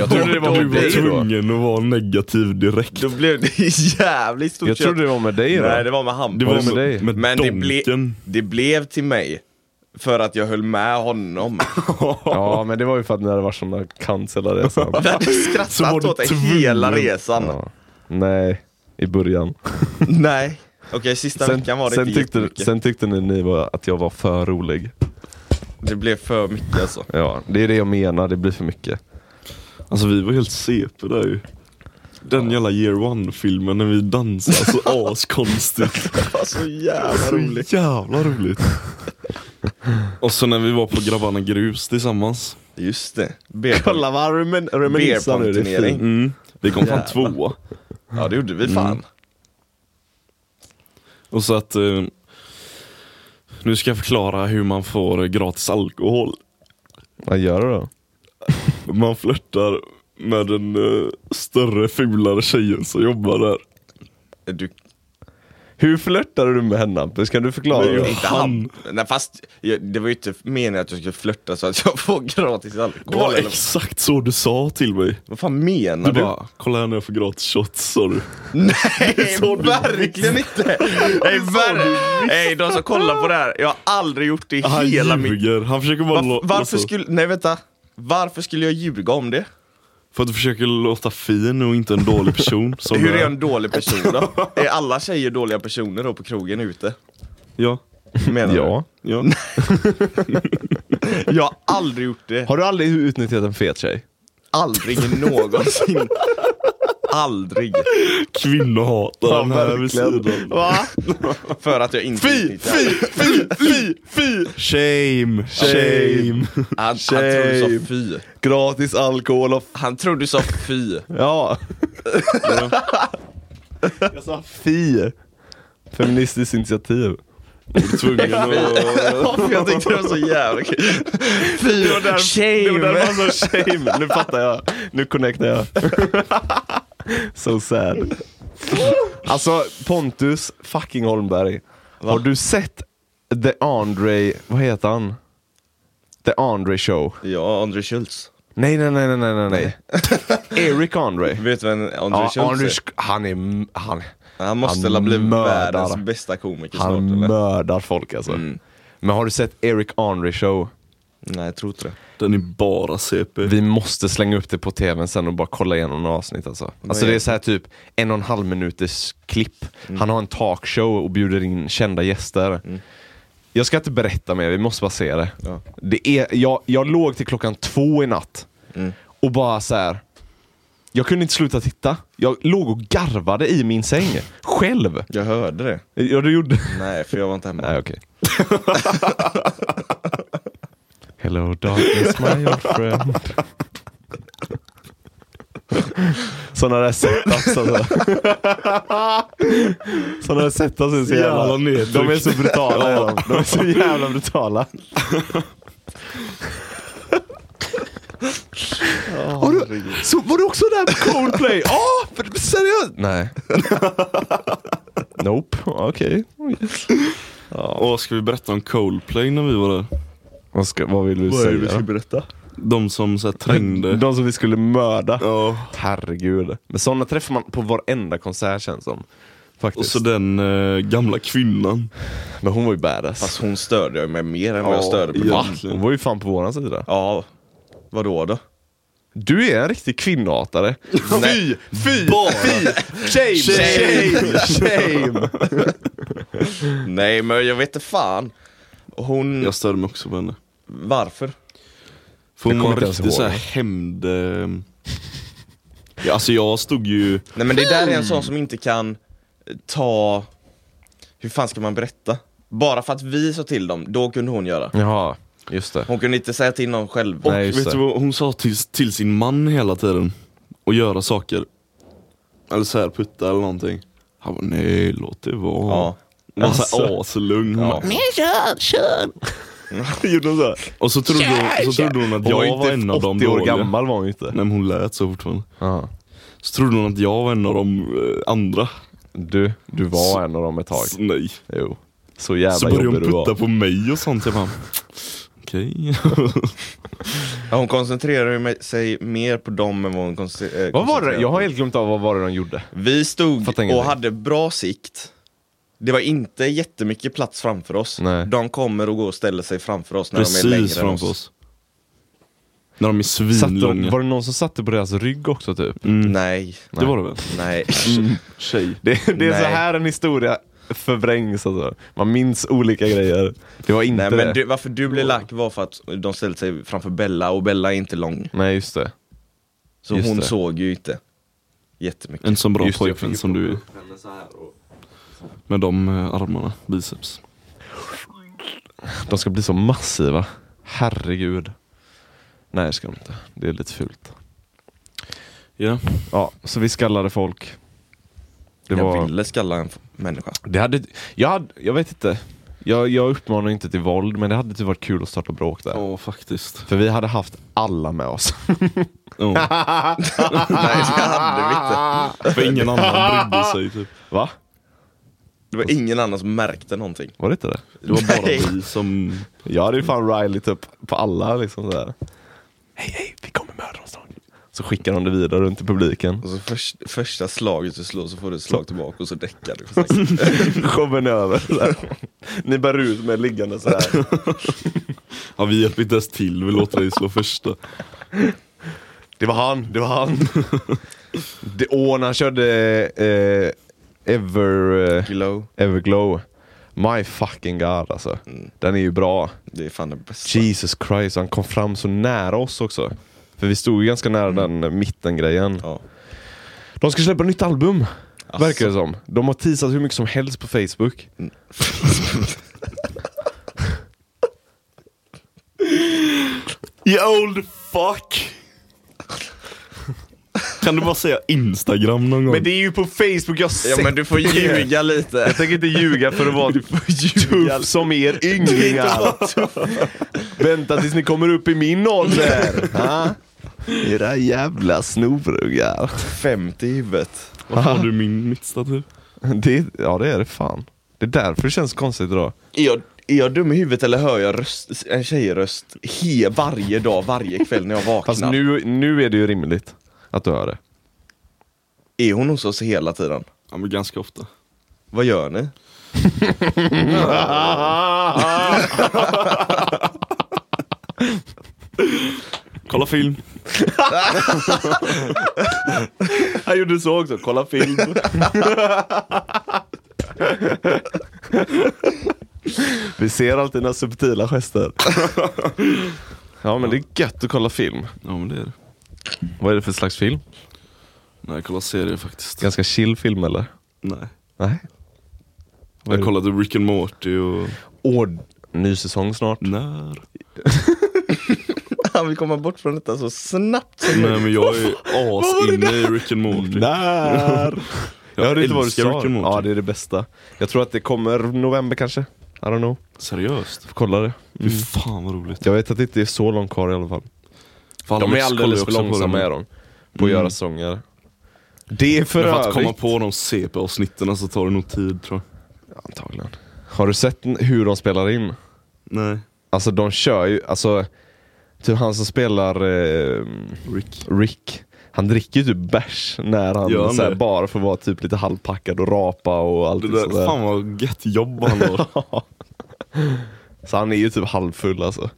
Speaker 1: Jag trodde det var
Speaker 2: du
Speaker 1: med dig
Speaker 2: var
Speaker 1: då.
Speaker 2: tvungen att vara negativ direkt.
Speaker 1: Då blev det <laughs> jävligt stort
Speaker 3: Jag trodde det var med dig då.
Speaker 1: Nej, det var med Hampus. Alltså,
Speaker 2: Det
Speaker 3: var med dig.
Speaker 2: med
Speaker 1: Men det, ble,
Speaker 2: donken.
Speaker 1: det blev till mig. För att jag höll med honom.
Speaker 3: Ja, men det var ju för att ni hade varit sådana cunts hela resan.
Speaker 1: Vi hade
Speaker 2: Så var
Speaker 1: skrattat
Speaker 2: du
Speaker 1: åt det hela
Speaker 2: tvungen.
Speaker 1: resan.
Speaker 3: Ja. Nej, i början.
Speaker 1: Nej. Okej, sista
Speaker 3: Sen,
Speaker 1: veckan var det
Speaker 3: sen,
Speaker 1: inte
Speaker 3: tyckte,
Speaker 1: jättemycket.
Speaker 3: sen tyckte ni, ni var, att jag var för rolig.
Speaker 1: Det blev för mycket alltså.
Speaker 3: Ja, det är det jag menar, det blir för mycket.
Speaker 2: Alltså vi var helt CP där ju. Den jävla year one filmen när vi dansade
Speaker 1: <laughs>
Speaker 2: så askonstigt.
Speaker 1: Det var så jävla roligt.
Speaker 2: Så
Speaker 1: <laughs>
Speaker 2: jävla roligt. Och så när vi var på Grabbarna Grus tillsammans.
Speaker 1: Just det. Beer pong.
Speaker 3: Kolla vad remen,
Speaker 1: reminisar nu, det är fint. Beerpongturnering.
Speaker 2: Mm. Vi kom fan
Speaker 1: Jävlar.
Speaker 2: tvåa.
Speaker 1: Ja, det gjorde vi fan.
Speaker 2: Mm. Och så att eh, Nu ska jag förklara hur man får gratis alkohol.
Speaker 3: Vad gör du då?
Speaker 2: Man flörtar med den eh, större fulare tjejen som jobbar där.
Speaker 1: Du,
Speaker 3: Hur flörtade du med henne Hampus? Kan du förklara?
Speaker 2: Nej,
Speaker 3: det?
Speaker 2: jag-
Speaker 1: inte
Speaker 2: han.
Speaker 1: han. Nej, fast jag, det var ju inte meningen att jag skulle flörta så att jag får gratis
Speaker 2: Det
Speaker 1: alkohol.
Speaker 2: var
Speaker 1: eller,
Speaker 2: exakt så du sa till mig.
Speaker 1: vad fan menar
Speaker 2: Du
Speaker 1: du?
Speaker 2: bara, kolla här när jag får gratis shots sa du.
Speaker 1: Nej,
Speaker 2: sa du
Speaker 1: verkligen inte! Nej, ver- Nej, de som kollar på det här, jag har aldrig gjort det i
Speaker 2: Han
Speaker 1: hela mitt...
Speaker 2: ljuger, han försöker bara
Speaker 1: Varf-
Speaker 2: låta...
Speaker 1: varför skulle... Nej, vänta. Varför skulle jag ljuga om det?
Speaker 2: För att du försöker låta fin och inte en dålig person. som
Speaker 1: Hur
Speaker 2: du
Speaker 1: är jag en dålig person
Speaker 2: <laughs>
Speaker 1: då? är alla tjejer dåliga personer då på krogen ute?
Speaker 2: Ja.
Speaker 1: Menar
Speaker 3: Ja.
Speaker 1: du?
Speaker 2: ja.
Speaker 1: <laughs> Jag har aldrig gjort det.
Speaker 3: Har du aldrig utnyttjat en fet tjej?
Speaker 1: Aldrig någonsin. aldrig.
Speaker 2: Kvinnohataren här vid sidan.
Speaker 3: Va?
Speaker 1: För att jag inte
Speaker 2: Fy,
Speaker 1: utnyttjar-
Speaker 2: fy, fy, fy, fy! Shame, shame.
Speaker 1: Han, han trodde du
Speaker 3: Shame.
Speaker 1: sa fy.
Speaker 3: Gratis alkohol och... f-
Speaker 1: Han trodde du sa fy.
Speaker 3: Ja. <laughs> jag sa fi. Feministiskt initiativ.
Speaker 2: Tvungen att...
Speaker 1: Varför jag tyckte det var så jävla kul. Fy,
Speaker 3: Jo, där
Speaker 1: shame.
Speaker 3: var så shame. Nu fattar jag. Nu connectar jag. <laughs> so sad. Alltså Pontus fucking Holmberg. Har du sett The Andre, vad heter han? The Andre show?
Speaker 1: Ja, André Schultz.
Speaker 3: Nej, nej, nej, nej, nej, nej. nej. Eric Andre.
Speaker 1: Vet du vem André
Speaker 3: Ja,
Speaker 1: Schultz
Speaker 3: Andre,
Speaker 1: är?
Speaker 3: Sch- han är, han,
Speaker 1: Han måste
Speaker 3: han
Speaker 1: väl bli
Speaker 3: mördar.
Speaker 1: världens bästa komiker snart
Speaker 3: han
Speaker 1: eller?
Speaker 3: mördar folk alltså.
Speaker 1: Mm.
Speaker 3: Men har du sett Eric Andre show?
Speaker 1: Nej, jag tror inte det.
Speaker 2: Den är bara CP.
Speaker 3: Vi måste slänga upp det på tvn sen och bara kolla igenom några avsnitt alltså. Alltså det är
Speaker 1: är det? Mm.
Speaker 3: så här typ en och en halv minuters klipp. Han har en talkshow och bjuder in kända gäster. Jag ska inte berätta mer, vi måste bara se det.
Speaker 1: Ja.
Speaker 3: det är, jag, jag låg till klockan två i natt
Speaker 1: Mm.
Speaker 3: och bara så här. Jag kunde inte sluta titta. Jag låg och garvade i min säng. Själv.
Speaker 1: Jag hörde det.
Speaker 3: Ja, du gjorde...
Speaker 1: Nej, för jag var inte hemma.
Speaker 3: Nej, okej. <laughs> Hello darkness my old friend. Sådana där setups alltså. Sådana där setups är så jävla... De är så brutala. är de. de är så jävla brutala. Har du, så var du också där på Coldplay? Ja, för- seriöst? Nej. <laughs> Nope, okej.
Speaker 2: Åh, ska vi berätta om Coldplay när vi var där?
Speaker 3: Vad, ska- vad vill du säga?
Speaker 1: berätta?
Speaker 2: De som så här, trängde.
Speaker 3: De som vi skulle mörda.
Speaker 2: Ja.
Speaker 3: Herregud. Men sådana träffar man på varenda konsert känns som.
Speaker 2: Och
Speaker 3: Faktiskt.
Speaker 2: så den eh, gamla kvinnan.
Speaker 3: Men hon var ju badass.
Speaker 1: Fast hon störde jag mig mer än vad
Speaker 2: Ja,
Speaker 1: jag störde på
Speaker 2: ja.
Speaker 1: ja.
Speaker 2: Alltså, egentligen.
Speaker 3: hon var ju fan på våran sida.
Speaker 1: ja, vadå då?
Speaker 3: Du är en riktig
Speaker 2: <laughs>
Speaker 3: kvinnohatare.
Speaker 1: Nej.
Speaker 3: fy, fy! Shame, shame,
Speaker 1: Shame.
Speaker 3: shame!
Speaker 1: <laughs> Nej men jag vet inte fan. Hon,
Speaker 2: Jag störde mig också på henne.
Speaker 1: varför?
Speaker 2: För
Speaker 3: Jag kommer
Speaker 2: hon var
Speaker 3: inte ens
Speaker 2: riktigt
Speaker 3: ihåg
Speaker 2: såhär
Speaker 3: det.
Speaker 2: hämnd... eh, Ja, alltså jag stod ju...
Speaker 1: Nej men det där är en
Speaker 3: Mm.
Speaker 1: sån som inte kan eh, ta, hur fan ska man berätta? Bara för att vi sa till dem, då kunde hon göra.
Speaker 3: Jaha, just det.
Speaker 1: Hon kunde inte säga till någon själv.
Speaker 2: Och
Speaker 3: Nej, just
Speaker 2: vet
Speaker 3: det.
Speaker 2: du vad hon sa till, till sin man hela tiden? Att göra saker. Eller såhär putta eller någonting. Han bara nej låt det vara.
Speaker 1: Ja.
Speaker 2: Hon var
Speaker 3: Alltså.
Speaker 2: såhär aslugn. Hon
Speaker 1: Ja.
Speaker 2: bara, Nej kör, kör. Gjorde hon såhär. Och så trodde hon, så trodde hon att
Speaker 3: Hon var ju
Speaker 2: jag var en
Speaker 3: inte
Speaker 2: av de
Speaker 3: 80 år
Speaker 2: dåliga.
Speaker 3: gammal var hon ju inte.
Speaker 2: Nej men hon lät så fortfarande.
Speaker 3: Ja.
Speaker 2: Så trodde hon att jag var en av de eh, andra.
Speaker 3: Du, du var
Speaker 2: Så-
Speaker 3: en av dem ett tag.
Speaker 2: Så, nej.
Speaker 3: Jo. Så jävla
Speaker 2: Så började
Speaker 3: jobbig
Speaker 2: hon
Speaker 3: du var.
Speaker 2: putta på mig och sånt. Jag bara, okej.
Speaker 1: Ja, hon koncentrerar ju med- sig mer på dem än vad hon eh, koncentrerar
Speaker 3: Vad var det? Jag har helt glömt av vad var det de gjorde.
Speaker 1: Vi stod
Speaker 3: Fattar ingenting.
Speaker 1: och hade bra sikt. Det var inte jättemycket plats framför oss.
Speaker 3: Nej.
Speaker 1: De kommer och går och ställer sig framför oss när de är längre
Speaker 2: Precis
Speaker 1: än
Speaker 2: framför oss. När de är
Speaker 3: Satt de,
Speaker 2: svinlånga.
Speaker 3: var det någon som satte på deras rygg också typ?
Speaker 2: Mm.
Speaker 1: Nej,
Speaker 2: Det var det väl?
Speaker 3: <laughs>
Speaker 1: nej.
Speaker 2: Tjej.
Speaker 3: Det, det är
Speaker 1: Nej.
Speaker 3: så här en historia förvrängs alltså. Man minns olika grejer. Det var inte
Speaker 1: nej men
Speaker 3: det.
Speaker 1: du, varför du blev lack var för att de ställde sig framför Bella och Bella är inte lång.
Speaker 3: Nej just det.
Speaker 1: Så
Speaker 3: Just
Speaker 1: hon
Speaker 3: det.
Speaker 1: såg ju inte jättemycket.
Speaker 2: En sån bra
Speaker 3: Just det, jag
Speaker 2: pojkvän
Speaker 3: fick
Speaker 2: som du är. Med de eh, armarna, biceps.
Speaker 3: De ska bli så massiva. Herregud. Nej det ska de inte. Det är lite fult.
Speaker 2: Ja.
Speaker 3: Ja, så vi skallade folk. Det
Speaker 1: jag
Speaker 3: var...
Speaker 1: ville skalla en f- människa.
Speaker 3: Det hade, jag, hade, jag vet inte. Jag, jag uppmanar inte till våld, men det hade typ varit kul att starta bråk där.
Speaker 2: Ja, faktiskt.
Speaker 3: För vi hade haft alla med oss. <laughs>
Speaker 2: Ja.
Speaker 1: <laughs> nej det hade vi inte.
Speaker 2: För ingen annan brydde sig typ.
Speaker 3: Va?
Speaker 1: Det var ingen annan som märkte någonting.
Speaker 3: Var det inte det?
Speaker 2: Det var
Speaker 1: Nej.
Speaker 2: bara vi som...
Speaker 3: Jag hade ju fan Riley upp på alla liksom sådär. Hej hej, vi kommer mörda dem snart. Så skickar de det vidare runt i publiken.
Speaker 1: Och så först, första slaget du slår så får du ett slag tillbaka och så däckar du.
Speaker 3: <laughs> Showen är över. <laughs> sådär. Ni bär ut mig liggande sådär.
Speaker 2: Ja, vi hjälper inte ens till, vi låter dig slå första.
Speaker 3: Det var han, det var han. Det, åh, när han körde eh, Ever, eh,
Speaker 1: Glow,
Speaker 3: Everglow. My fucking god alltså. Den är ju bra.
Speaker 1: det är fan det bästa.
Speaker 3: Jesus Christ, han kom fram så nära oss också. För vi stod ju ganska nära den mittengrejen.
Speaker 1: Ja.
Speaker 3: De ska släppa nytt album, verkar det som. De har teasat hur mycket som helst på Facebook.
Speaker 2: You old fuck! Kan du bara säga Instagram någon gång?
Speaker 3: Men det är ju på Facebook jag har
Speaker 1: Ja men du får ljuga lite.
Speaker 3: <laughs> Jag tänker inte ljuga för att vara tuff som er ynglingar. Vänta tills ni kommer upp i min ålder. Ha? Era jävla snorungar.
Speaker 1: 50 i huvudet.
Speaker 2: Var har du min typ? mitt stativ?
Speaker 3: Det, ja det är det fan. Det är därför det känns konstigt idag.
Speaker 1: Är jag, är jag dum i huvudet eller hör jag röst, en tjejröst he, varje dag, varje kväll när jag vaknar?
Speaker 3: Fast nu, nu är det ju rimligt att du hör det.
Speaker 1: Är hon hos oss hela tiden?
Speaker 2: Ja men ganska ofta.
Speaker 1: Vad gör ni? <laughs>
Speaker 2: Kolla film.
Speaker 3: Han gjorde så också, kolla film. Vi ser alltid dina subtila gester. Ja men det är gött att kolla film.
Speaker 2: Ja men det är det.
Speaker 3: Vad är det för slags film?
Speaker 2: Nej jag kollar serier faktiskt.
Speaker 3: Ganska chill film eller?
Speaker 2: Nej.
Speaker 3: Nej.
Speaker 2: Jag kollade Rick and Morty och...
Speaker 3: Åh, ny säsong snart.
Speaker 2: När?
Speaker 1: kan vi komma bort från detta så snabbt som
Speaker 2: Nej men
Speaker 3: <laughs>
Speaker 2: jag är asinne i Rick and Morty.
Speaker 3: När? <laughs> Jag
Speaker 2: Jag
Speaker 3: hörde inte vad du
Speaker 2: älskar
Speaker 3: sa.
Speaker 2: Rick and Morty.
Speaker 3: Ja, det är det bästa. Jag tror att det kommer november kanske. I don't know.
Speaker 2: Seriöst?
Speaker 3: Får kolla det.
Speaker 2: Fy fan vad roligt.
Speaker 3: Jag vet att det inte är så långt kvar i alla fall.
Speaker 2: Fan,
Speaker 3: De är
Speaker 2: Alex kollar ju
Speaker 3: alldeles för
Speaker 2: också på
Speaker 3: långsamma
Speaker 2: dem.
Speaker 3: är de. På att göra sånger. Det är för
Speaker 2: Men för att komma
Speaker 3: övrigt.
Speaker 2: på de CP-avsnitten så alltså, tar det nog tid tror jag.
Speaker 3: Antagligen. Har du sett n- hur de spelar in?
Speaker 2: Nej.
Speaker 3: Alltså de kör ju, alltså typ han som spelar eh,
Speaker 2: Rick.
Speaker 3: Rick, han dricker ju typ bärs när han,
Speaker 2: Gör han
Speaker 3: såhär,
Speaker 2: det?
Speaker 3: bara för att vara typ lite halvpackad och rapa och allt
Speaker 2: Det där,
Speaker 3: sådär.
Speaker 2: fan vad gött jobb han
Speaker 3: <laughs>
Speaker 2: har.
Speaker 3: Så han är ju typ halvfull alltså.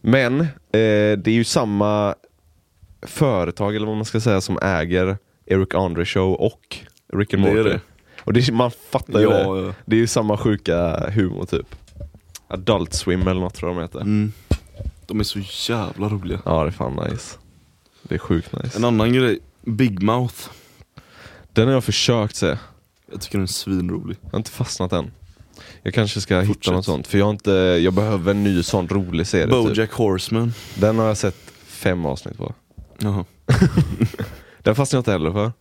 Speaker 3: Men eh, det är ju samma företag eller vad man ska säga som äger Eric Andre Show och Rick and
Speaker 2: Det är
Speaker 3: Morty.
Speaker 2: det.
Speaker 3: Och det, är- man fattar ju
Speaker 2: Ja,
Speaker 3: det.
Speaker 2: ja.
Speaker 3: Det är ju samma sjuka humor typ. Adult Swim eller något tror jag de heter.
Speaker 2: Mm. De är så jävla roliga.
Speaker 3: Ja det är fan nice. Det är sjukt nice.
Speaker 2: En annan grej, Big Mouth.
Speaker 3: Den har jag försökt se. Jag
Speaker 2: Jag tycker den är svinrolig.
Speaker 3: har inte fastnat än. Jag kanske ska hitta
Speaker 2: Fortsätt.
Speaker 3: något sånt. För jag, har inte, jag behöver en ny sån rolig serie. Typ.
Speaker 2: Bojack Horseman.
Speaker 3: Den har jag sett fem avsnitt på.
Speaker 2: Jaha.
Speaker 3: Den fastnar jag inte heller för. Men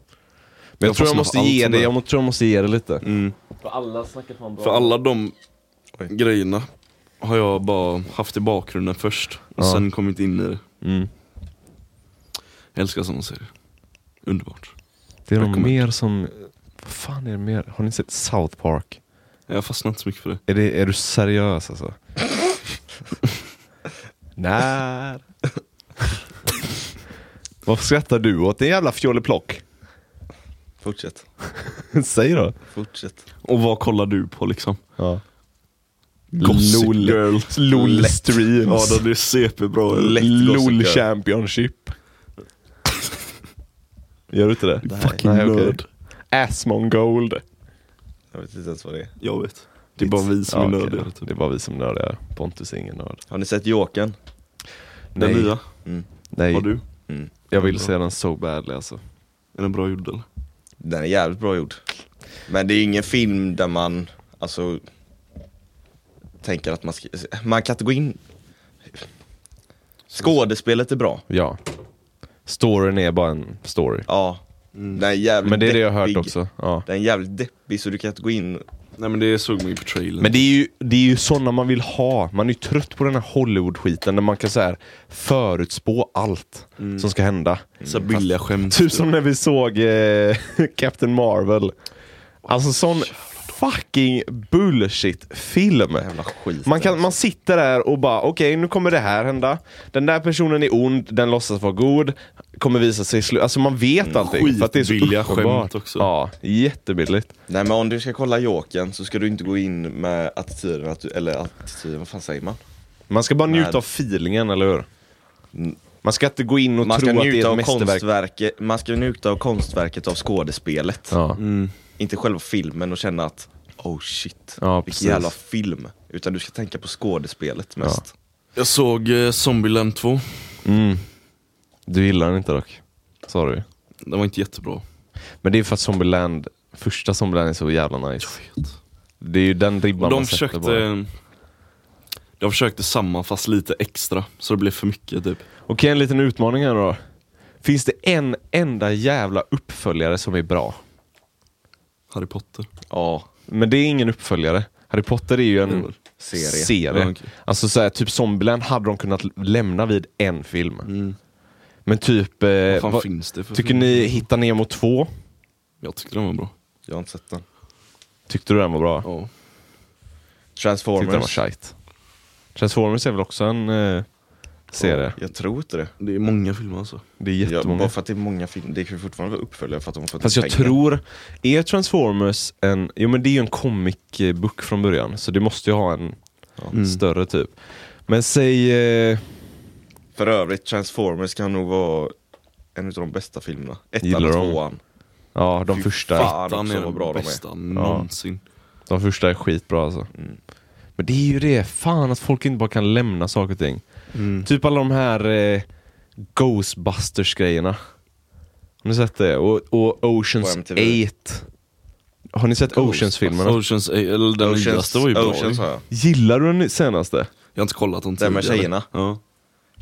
Speaker 3: jag,
Speaker 2: Jag
Speaker 3: tror jag
Speaker 2: fastnar
Speaker 3: måste
Speaker 2: för allt
Speaker 3: ge
Speaker 2: som
Speaker 3: det,
Speaker 2: är.
Speaker 3: jag må- tror jag måste ge det lite.
Speaker 2: Mm.
Speaker 1: För alla snackar fan bra.
Speaker 2: För alla de
Speaker 1: Oj.
Speaker 2: grejerna har jag bara haft i bakgrunden först och
Speaker 3: Ja.
Speaker 2: sen kommit in i det.
Speaker 3: Mm.
Speaker 2: Jag älskar sådana serier. Underbart.
Speaker 3: Det är
Speaker 2: Jag
Speaker 3: nog
Speaker 2: kommer-
Speaker 3: mer som, vad fan är det mer? Har ni sett South Park?
Speaker 2: Jag fastnar inte så mycket för det.
Speaker 3: Är, det, är du seriös alltså? <laughs> När? Vad skrattar du åt? Det är jävla fjolleplock.
Speaker 1: Fortsätt,
Speaker 3: <laughs> Säg då.
Speaker 1: fortsätt.
Speaker 2: Och vad kollar du på liksom?
Speaker 3: Ja.
Speaker 2: Gossip
Speaker 3: LOL.
Speaker 2: Girl.
Speaker 3: LOL
Speaker 2: Lätt.
Speaker 3: streams.
Speaker 2: Ja, den är CP-bra.
Speaker 1: Lätt Gossip
Speaker 3: LOL
Speaker 1: Girl.
Speaker 3: Championship. <laughs> Gör du inte det?
Speaker 1: Nej.
Speaker 2: Fucking
Speaker 3: Nej, okej.
Speaker 2: nörd.
Speaker 3: Assmongold.
Speaker 1: Jag vet inte ens vad det är.
Speaker 2: Jag vet. Det är bara vi som
Speaker 3: Ja,
Speaker 2: är
Speaker 3: okej
Speaker 2: nördiga.
Speaker 3: då.
Speaker 2: Typ.
Speaker 3: Det är bara vi som är nördiga. Pontus är ingen nörd.
Speaker 1: Har ni sett Jokern?
Speaker 2: Den
Speaker 3: Nej.
Speaker 2: nya,
Speaker 1: Mm.
Speaker 3: Nej,
Speaker 2: har du?
Speaker 1: Mm.
Speaker 3: jag vill se den so badly alltså.
Speaker 2: Är den bra gjord eller?
Speaker 1: Den är jävligt bra gjord. Men det är ju ingen film där man, alltså, tänker att man ska, man kan inte gå in. Skådespelet är bra.
Speaker 3: Ja. Storyn är bara en story.
Speaker 1: Ja. Den är jävligt
Speaker 3: Mm. Men det är det jag har hört
Speaker 1: deppig.
Speaker 3: också. Ja.
Speaker 1: Den är jävligt deppig så du kan inte gå in.
Speaker 2: Nej men det såg man ju på trailern.
Speaker 3: Men det är ju, det är ju sådana man vill ha. Man är ju trött på den här Hollywood-skiten där man kan så här förutspå allt som ska hända.
Speaker 2: så här billiga skämt.
Speaker 3: Typ som när vi såg eh, <laughs> Captain Marvel. Alltså sån fucking bullshit-film.
Speaker 1: Jävla skit. alltså.
Speaker 3: Man, kan, man sitter där och bara, okej nu kommer det här hända. Den där personen är ond, den låtsas vara god. Kommer visa sig slut. Alltså man vet allting. För att det är så
Speaker 2: skitbilliga
Speaker 3: uppenbart.
Speaker 2: skämt också.
Speaker 3: Ja, jättebilligt.
Speaker 1: Nej men om du ska kolla Jokern så ska du inte gå in med attityden att du, eller attityden, vad fan säger man?
Speaker 3: Man ska bara njuta
Speaker 1: Men-
Speaker 3: av feelingen, eller hur? Man ska inte gå in och
Speaker 1: Man
Speaker 3: tro
Speaker 1: ska,
Speaker 3: att det är
Speaker 1: njuta
Speaker 3: ett
Speaker 1: av
Speaker 3: mästerverk.
Speaker 1: konstverket, man ska njuta av konstverket av skådespelet.
Speaker 3: Ja.
Speaker 1: Inte själva filmen och känna att oh shit,
Speaker 3: Ja, precis.
Speaker 1: vilken jävla film. Utan du ska tänka på skådespelet mest.
Speaker 2: Jag såg eh, Zombieland 2.
Speaker 3: Mm. Du gillar den inte dock. Sa du ju.
Speaker 2: Den var inte jättebra.
Speaker 3: Men det är för att Zombieland, första Zombieland är så jävla nice. Det är ju den ribban man
Speaker 2: De
Speaker 3: sätter bara.
Speaker 2: försökte, de försökte samma fast lite extra, så det blev för mycket typ.
Speaker 3: Okej, en liten utmaning här då. Finns det en enda jävla uppföljare som är bra?
Speaker 2: Harry Potter.
Speaker 1: Ja.
Speaker 3: Men det är ingen uppföljare. Harry Potter är ju
Speaker 2: Det
Speaker 3: en
Speaker 2: är
Speaker 1: serie.
Speaker 2: Mm. Ja, okej.
Speaker 3: Alltså så här, typ Zombieland hade de kunnat lämna vid en film. Men typ... Eh,
Speaker 2: Mm. Vad fan
Speaker 3: vad-
Speaker 2: finns det för
Speaker 3: tycker
Speaker 2: film?
Speaker 3: ni Hitta Nemo 2?
Speaker 2: Jag tyckte den var bra.
Speaker 1: Jag har inte sett den.
Speaker 3: Tyckte du den var bra?
Speaker 2: Ja.
Speaker 3: Tyckte den var
Speaker 1: Transformers.
Speaker 3: shite. Transformers är väl också en eh, serie?
Speaker 1: Jag tror inte det.
Speaker 2: Det är många filmer alltså.
Speaker 3: Det är
Speaker 1: Jag,
Speaker 3: jättemånga.
Speaker 1: bara för att det är många filmer, det kan ju fortfarande vara uppföljare för att de får
Speaker 3: Fast jag
Speaker 1: pengar.
Speaker 3: tror, är Transformers en, jo men det är ju en comic eh, book från början, så det måste ju ha en
Speaker 2: Mm.
Speaker 3: större typ. Men säg, eh,
Speaker 1: För övrigt, Transformers kan nog vara en av de bästa filmerna. Ettan
Speaker 3: Gillar
Speaker 1: och
Speaker 3: de?
Speaker 1: tvåan.
Speaker 3: ja de
Speaker 1: Fy
Speaker 3: första,
Speaker 1: fan.
Speaker 2: Den
Speaker 1: också
Speaker 2: är
Speaker 1: vad
Speaker 2: den
Speaker 1: bra de är.
Speaker 2: bästa någonsin.
Speaker 3: de första är skitbra alltså.
Speaker 2: Mm.
Speaker 3: Men det är ju det, fan att folk inte bara kan lämna saker och ting.
Speaker 2: Mm.
Speaker 3: Typ alla de här eh, Ghostbusters grejerna. Har ni sett det? Och, och
Speaker 1: På
Speaker 3: Oceans
Speaker 1: MTV.
Speaker 3: 8. Har ni sett Oceans-filmerna?
Speaker 2: Oceans, eh, eller den nyaste var ju bra.
Speaker 1: Oceans har jag.
Speaker 3: Gillar du den senaste?
Speaker 2: Jag har inte kollat den
Speaker 1: Den med
Speaker 2: tidigare.
Speaker 1: tjejerna.
Speaker 2: Ja.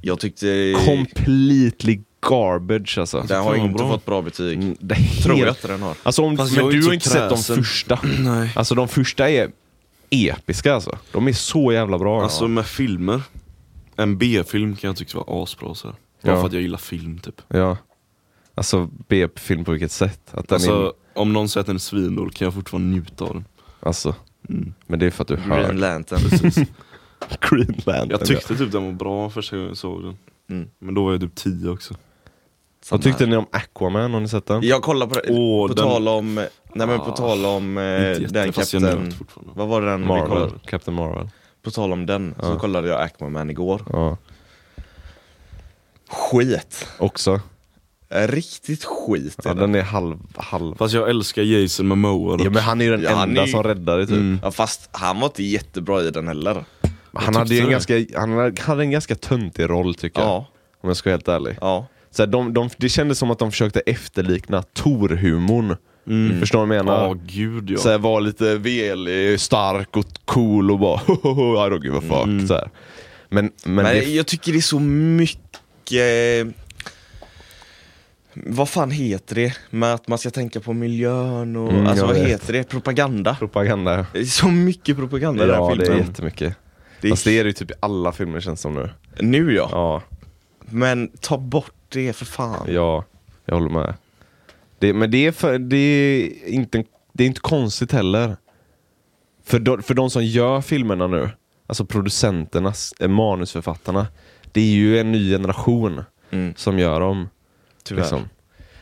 Speaker 1: Jag tyckte...
Speaker 3: Completely garbage alltså.
Speaker 1: Den har
Speaker 2: Fan,
Speaker 1: ju
Speaker 2: vad
Speaker 1: inte
Speaker 2: bra.
Speaker 1: fått bra betyg.
Speaker 3: Mm, Det är
Speaker 1: Tror jag
Speaker 3: helt...
Speaker 1: inte den har.
Speaker 3: Alltså om,
Speaker 2: Fast
Speaker 3: men
Speaker 2: jag
Speaker 3: du
Speaker 2: är
Speaker 3: har
Speaker 2: inte så
Speaker 3: inte sett de
Speaker 2: kräsen.
Speaker 3: första.
Speaker 2: <clears throat> Nej.
Speaker 3: Alltså de första är episka alltså. De är så jävla bra.
Speaker 2: Alltså med filmer. En B-film kan jag tycka var asbra så här. Bara
Speaker 3: Ja.
Speaker 2: för att jag gillar film typ.
Speaker 3: Ja. Alltså B-film på vilket sätt? Att den
Speaker 2: Alltså om någon säger att den är svindålig kan jag fortfarande njuta av den.
Speaker 3: är, alltså,
Speaker 2: Mm.
Speaker 3: men det är för att du
Speaker 1: Green
Speaker 3: hör
Speaker 1: Lantern.
Speaker 3: <laughs> Greenland.
Speaker 2: Jag tyckte typ den var bra första gången jag såg den.
Speaker 1: Mm.
Speaker 2: Men då var jag typ 10 också.
Speaker 3: Vad tyckte ni om Aquaman? Har ni sett den?
Speaker 1: Jag kollar på det,
Speaker 2: Åh,
Speaker 1: på
Speaker 2: den-
Speaker 1: tal om, nej men på
Speaker 2: Ah,
Speaker 1: tal om eh,
Speaker 2: Inte jätte,
Speaker 1: den
Speaker 2: fast jag njöt
Speaker 1: kapten,
Speaker 2: fortfarande.
Speaker 1: vad var det den vi kollade?
Speaker 3: Marvel. Captain Marvel.
Speaker 1: På tal om den, så
Speaker 3: Ja.
Speaker 1: kollade jag Aquaman igår.
Speaker 3: Ja.
Speaker 1: Skit!
Speaker 3: Också.
Speaker 1: Riktigt skit är
Speaker 3: Ja,
Speaker 1: den.
Speaker 3: den är halv... halv.
Speaker 2: Fast jag älskar Jason Momoa dock.
Speaker 3: Ja, men han är ju den
Speaker 1: Ja, han
Speaker 3: enda
Speaker 1: är ju-
Speaker 3: som räddar det typ.
Speaker 2: Mm.
Speaker 1: Ja, fast han var inte jättebra i den heller.
Speaker 3: Han hade ju
Speaker 2: tyckte
Speaker 3: en
Speaker 2: det.
Speaker 3: ganska, han hade- hade en ganska töntig roll tycker jag.
Speaker 1: Ja,
Speaker 3: Om jag ska vara helt ärlig.
Speaker 1: ja.
Speaker 3: Så här, de, de, det kändes som att de försökte efterlikna Tor-humorn. Förstår du vad jag menar?
Speaker 2: Ja Ah, gud ja.
Speaker 3: Så här, var lite velig, stark och cool och bara <laughs> I don't give a fuck. Så här. Men, men,
Speaker 1: Men
Speaker 3: det,
Speaker 1: jag tycker det är så mycket... eh, Vad fan heter det? Med att man ska tänka på miljön och...
Speaker 3: Mm,
Speaker 1: alltså
Speaker 3: jag
Speaker 1: vad
Speaker 3: vet.
Speaker 1: heter det? Propaganda?
Speaker 3: propaganda.
Speaker 1: Det är så mycket propaganda i den
Speaker 3: Ja,
Speaker 1: här
Speaker 3: det är
Speaker 1: filmen.
Speaker 3: jättemycket.
Speaker 1: Det är-
Speaker 3: Fast det är det ju typ i alla filmer känns som nu.
Speaker 1: Nu ja.
Speaker 3: Ja,
Speaker 1: Men ta bort det för fan.
Speaker 3: ja jag håller med. Det, men det är, för, det, är inte, det är inte konstigt heller. För de, för de som gör filmerna nu, alltså producenterna, s- eh, manusförfattarna. Det är ju en ny generation
Speaker 1: Mm,
Speaker 3: som gör dem.
Speaker 1: tyvärr.
Speaker 3: Liksom.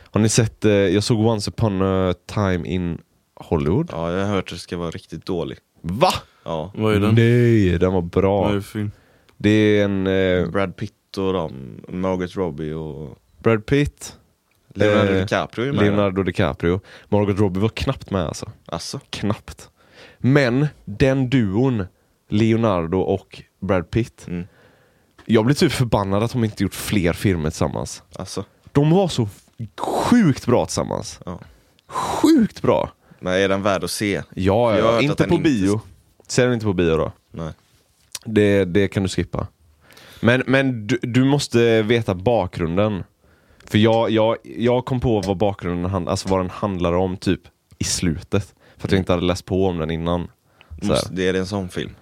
Speaker 3: Har ni sett, eh, jag såg Once upon a time in Hollywood.
Speaker 1: Ja, jag har hört att det ska vara riktigt dålig.
Speaker 3: Va?
Speaker 1: Ja.
Speaker 2: Vad
Speaker 3: Mm,
Speaker 2: är den?
Speaker 3: Nej, den var
Speaker 2: Vad
Speaker 3: bra.
Speaker 2: är det för film?
Speaker 3: Det är en eh,
Speaker 1: Brad Pitt och de, Margaret Robbie och
Speaker 3: Brad Pitt,
Speaker 1: Leonardo
Speaker 3: Eh,
Speaker 1: DiCaprio är med.
Speaker 3: Leonardo DiCaprio. Margot Robbie var knappt med alltså.
Speaker 1: Alltså.
Speaker 3: Knappt. Men den duon, Leonardo och Brad Pitt.
Speaker 1: Mm.
Speaker 3: Jag blir typ förbannad att de inte gjort fler filmer tillsammans.
Speaker 1: Alltså.
Speaker 3: De var så sjukt bra tillsammans.
Speaker 1: Ja.
Speaker 3: Sjukt bra.
Speaker 1: Men är den värd att se?
Speaker 3: Ja,
Speaker 1: Jag har
Speaker 3: ja.
Speaker 1: hört
Speaker 3: inte
Speaker 1: att
Speaker 3: på
Speaker 1: den inte-
Speaker 3: bio. Ser den inte på bio då?
Speaker 1: Nej.
Speaker 3: Det, det kan du skippa. Men, men du, du måste veta bakgrunden. För jag, jag, jag kom på vad bakgrunden hand, alltså vad den handlar om typ i slutet. För att jag inte hade läst på om den innan. Så här. Mm.
Speaker 1: Måste, det är en sån film.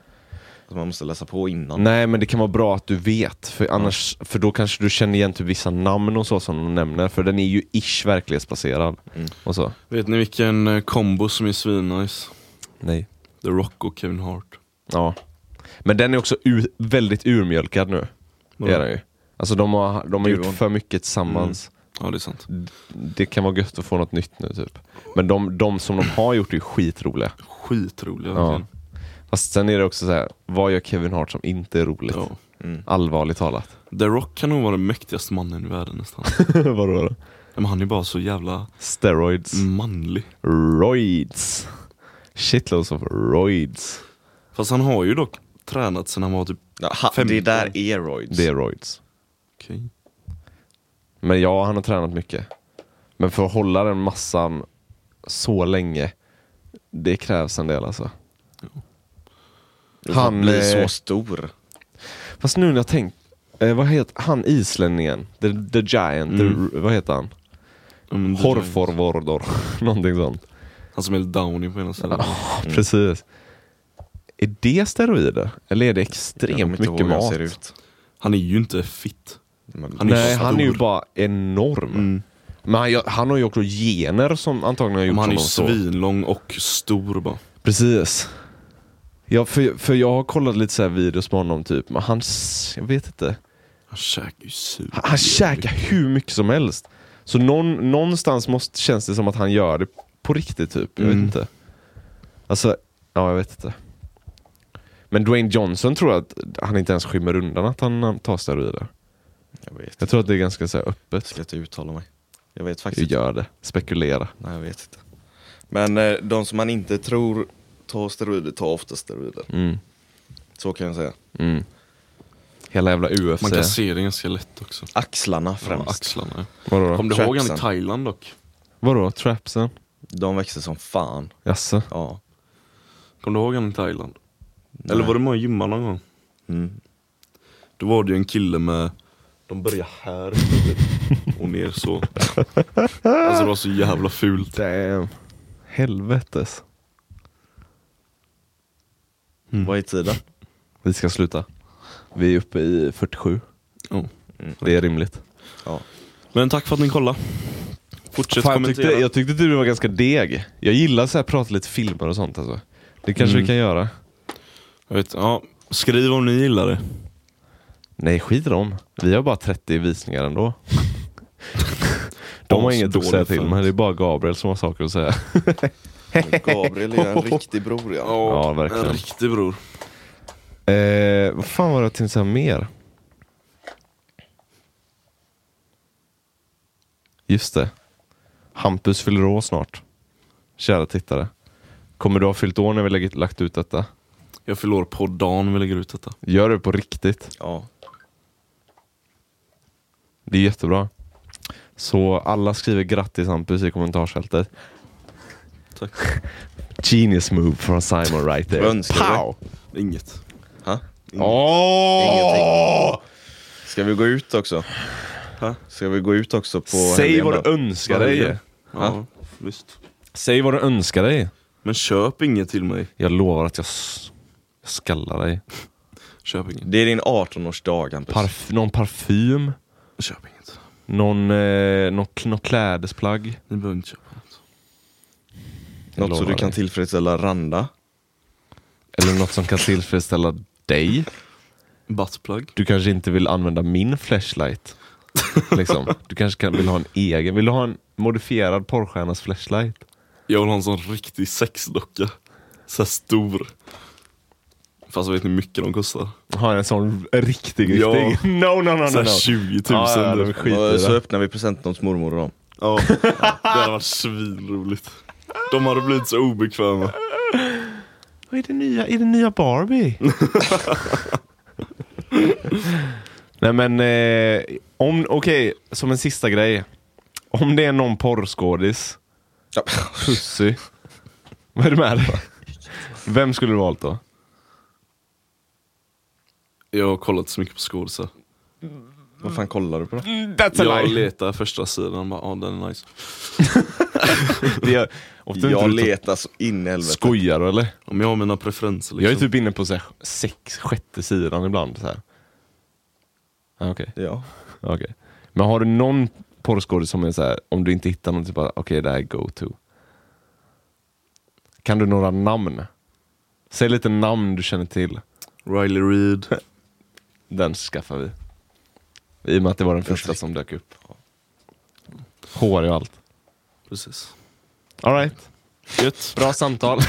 Speaker 1: Att man måste läsa på innan.
Speaker 3: Nej men det kan vara bra att du vet. För, annars, för då kanske du känner igen typ vissa namn och så som de nämner. För den är ju ish verklighetsbaserad. Och så.
Speaker 2: Vet ni vilken eh, kombo som är svinnice?
Speaker 3: Nej.
Speaker 2: The Rock och Kevin Hart.
Speaker 3: Ja. Men den är också u- väldigt urmjölkad nu. Det är
Speaker 2: Ja.
Speaker 3: den ju. Alltså de har, de har
Speaker 1: Duon.
Speaker 3: gjort för mycket tillsammans.
Speaker 2: Ja det är sant.
Speaker 3: det kan vara gött att få något nytt nu typ. Men de, de som de har gjort är ju skitroliga.
Speaker 2: Skitroliga
Speaker 3: Ja.
Speaker 2: verkligen.
Speaker 3: Fast sen är det också så här, vad gör Kevin Hart som inte är roligt?
Speaker 2: ja.
Speaker 3: Allvarligt talat.
Speaker 2: The Rock kan nog vara den mäktigaste mannen i världen
Speaker 3: <laughs>
Speaker 2: nästan.
Speaker 3: Vadå då?
Speaker 2: Nej, Men han är bara så jävla
Speaker 3: Steroids.
Speaker 2: Mm. manlig.
Speaker 3: Roids. Shitloads of roids.
Speaker 2: Fast han har ju dock tränat sen han var typ...
Speaker 1: Ja, ha, det
Speaker 2: Femton.
Speaker 1: där är roids.
Speaker 3: Det är roids.
Speaker 2: Okej.
Speaker 3: Men ja, han har tränat mycket. Men för att hålla den massan så länge, det krävs en del alltså.
Speaker 1: han blir
Speaker 3: eh,
Speaker 1: så stor.
Speaker 3: Fast nu när jag tänkt, eh, vad heter han islänningen? The, the Giant, the, vad heter han?
Speaker 2: Ja, men det-
Speaker 3: Horforvordor, <laughs> någonting sånt.
Speaker 2: Han som är helt downy på ena sidan.
Speaker 3: Precis. Är det steroider? Eller är det
Speaker 1: Jag kommer
Speaker 3: extremt
Speaker 1: inte ihåg
Speaker 3: mycket
Speaker 1: hur han
Speaker 3: mat?
Speaker 1: ser ut.
Speaker 2: Han är ju inte fit.
Speaker 1: Men,
Speaker 2: Han är
Speaker 3: Nej,
Speaker 2: stor.
Speaker 3: han är ju bara enorm.
Speaker 2: Mm.
Speaker 3: Men han, gör- han har ju också gener som antagligen har gjort
Speaker 2: Men han är ju
Speaker 3: honom så.
Speaker 2: svinlång och stor bara.
Speaker 3: Precis. Ja, för, för jag har kollat lite så här videos med honom typ, men han, s- jag vet inte.
Speaker 2: Han käkar ju super.
Speaker 3: Han, han käkar hur mycket som helst. Så någon, någonstans måste, känns det som att han gör det på riktigt typ. Jag vet
Speaker 2: Mm.
Speaker 3: inte. Alltså, ja jag vet inte. Men Dwayne Johnson tror jag att han inte ens skymmer undan att han eh, tar steroider.
Speaker 1: jag vet
Speaker 3: Jag
Speaker 1: inte.
Speaker 3: tror att det är ganska så här,
Speaker 1: Jag
Speaker 3: öppet.
Speaker 1: ska inte uttala mig. Jag vet faktiskt
Speaker 3: Jag
Speaker 1: inte.
Speaker 3: gör det. Spekulera.
Speaker 1: Nej, jag vet inte. Men eh, de som man inte tror tar steroider tar ofta steroider.
Speaker 3: Mm.
Speaker 1: Så kan jag säga.
Speaker 3: Mm. Hela jävla UFC.
Speaker 2: Man kan se det ganska lätt också.
Speaker 1: Axlarna
Speaker 2: Främst. Ja,
Speaker 1: främst.
Speaker 2: axlarna.
Speaker 3: Vadå? då?
Speaker 2: Kommer du ihåg han
Speaker 1: Trapsen.
Speaker 2: i Thailand dock?
Speaker 3: Vadå? Trapsen?
Speaker 1: De växer som fan.
Speaker 3: Jaså?
Speaker 1: Ja.
Speaker 2: Kommer du ihåg han i Thailand? Eller var du med och gymmade någon gång?
Speaker 1: Mm.
Speaker 2: Då var det ju en kille med De börjar
Speaker 3: <laughs>
Speaker 2: här typ, och ner så. Alltså det var så jävla fult.
Speaker 3: Damn. Helvetes.
Speaker 1: Vad är tiden?
Speaker 3: Mm. Vi ska sluta. Vi är uppe i 47.
Speaker 2: Ja.
Speaker 3: Det är rimligt. <laughs>
Speaker 1: Ja.
Speaker 2: Men tack för att ni kollade. Fortsätt
Speaker 3: Fan, jag, tyckte,
Speaker 2: kommentera.
Speaker 3: jag tyckte du var ganska deg. Jag gillar så här, prata lite filmer och sånt alltså. Det kanske
Speaker 2: Mm.
Speaker 3: vi kan göra.
Speaker 2: Jag vet, ja, skriv om ni gillar det.
Speaker 3: Nej, skit i dem. Vi har bara 30 visningar
Speaker 1: <laughs>
Speaker 3: ändå. De har inget att säga till men det är bara Gabriel som har saker att säga.
Speaker 1: Gabriel är en riktig bror ja.
Speaker 3: Ja, verkligen.
Speaker 2: En riktig bror.
Speaker 3: Eh, vad fan var det jag tänkte säga mer? Just det. Hampus fyller år snart. Kära tittare. Kommer du ha fyllt år när vi lägger- lagt ut detta?
Speaker 2: Jag fyller år på dagen vi lägger ut detta.
Speaker 3: Gör det på riktigt.
Speaker 1: ja.
Speaker 3: Det är jättebra. Så alla skriver grattis Hampus i kommentarsfältet.
Speaker 2: Tack.
Speaker 3: Genius move från Simon right there.
Speaker 1: Vad önskar du?
Speaker 3: Pow!
Speaker 2: Inget.
Speaker 1: Ha?
Speaker 3: Åh!
Speaker 1: Ingenting. Ska vi gå ut också?
Speaker 2: Ha?
Speaker 1: Ska vi gå ut också på
Speaker 3: Säg
Speaker 1: helgen
Speaker 3: vad
Speaker 1: då?
Speaker 3: du önskar
Speaker 2: På
Speaker 3: dig.
Speaker 2: helgen. Ja, visst.
Speaker 3: Säg vad du önskar dig.
Speaker 2: Men köp inget till mig.
Speaker 3: Jag lovar att jag, s- jag skallar dig.
Speaker 2: Köp inget.
Speaker 1: Det är din 18-årsdag Hampus.
Speaker 3: Parf någon parfym,
Speaker 2: Köp inget.
Speaker 3: någon, eh, någon, kl- någon klädesplagg.
Speaker 2: Ni behöver inte köpa något.
Speaker 3: Jag
Speaker 1: Något så
Speaker 3: lovar
Speaker 1: du kan
Speaker 3: dig.
Speaker 1: tillfredsställa Randa.
Speaker 3: Eller något som kan tillfredsställa dig.
Speaker 2: Buttplug.
Speaker 3: Du kanske inte vill använda min flashlight. Liksom. Du kanske kan, vill ha en egen. Vill du ha en modifierad porrstjärnas flashlight?
Speaker 2: Jag vill ha en sån riktig sexdocka. Så här stor. Fast vet ni hur mycket de kostar?
Speaker 3: Ha en sån riktig, riktig.
Speaker 2: Ja.
Speaker 3: <laughs> No, no, no, no.
Speaker 2: Så här
Speaker 3: no.
Speaker 2: 20 000.
Speaker 3: Ja, ja, de
Speaker 2: typ.
Speaker 3: Skit i
Speaker 1: Och
Speaker 3: det.
Speaker 1: så öppnar vi present åt mormor och dem.
Speaker 2: Ja, det hade varit svinroligt. De hade blivit så obekväma.
Speaker 3: Vad är det nya? Är det nya Barbie? <laughs> Nej men, eh, om, okej, som en sista grej. Om det är någon porrskådis,
Speaker 1: Ja.
Speaker 3: pussy. Vad är det med dig? Vem skulle du valt då?
Speaker 2: Jag har kollat så mycket på skådisar.
Speaker 1: Vad fan kollar du på då?
Speaker 3: That's
Speaker 2: Jag letar första sidan, bara ah den är nice.
Speaker 3: Jag, ofta
Speaker 1: Jag
Speaker 3: inte typ
Speaker 1: letar så in i helvete.
Speaker 3: Skojar du eller?
Speaker 2: Om jag har mina preferenser liksom.
Speaker 3: Jag är typ inne på så här, sex, sjätte sidan ibland. Så här. Ah, okej.
Speaker 1: Ja.
Speaker 3: Okej. Men har du någon porrskådis som är så här, om du inte hittar någon, typ bara, okej det här är go-to? Kan du några namn? Säg lite namn du känner till.
Speaker 2: Riley Reid.
Speaker 3: <laughs> Den skaffar vi. I och med att det var den första som dök upp. Hårig och allt.
Speaker 2: Precis.
Speaker 3: Alright,
Speaker 2: Gött.
Speaker 3: bra samtal.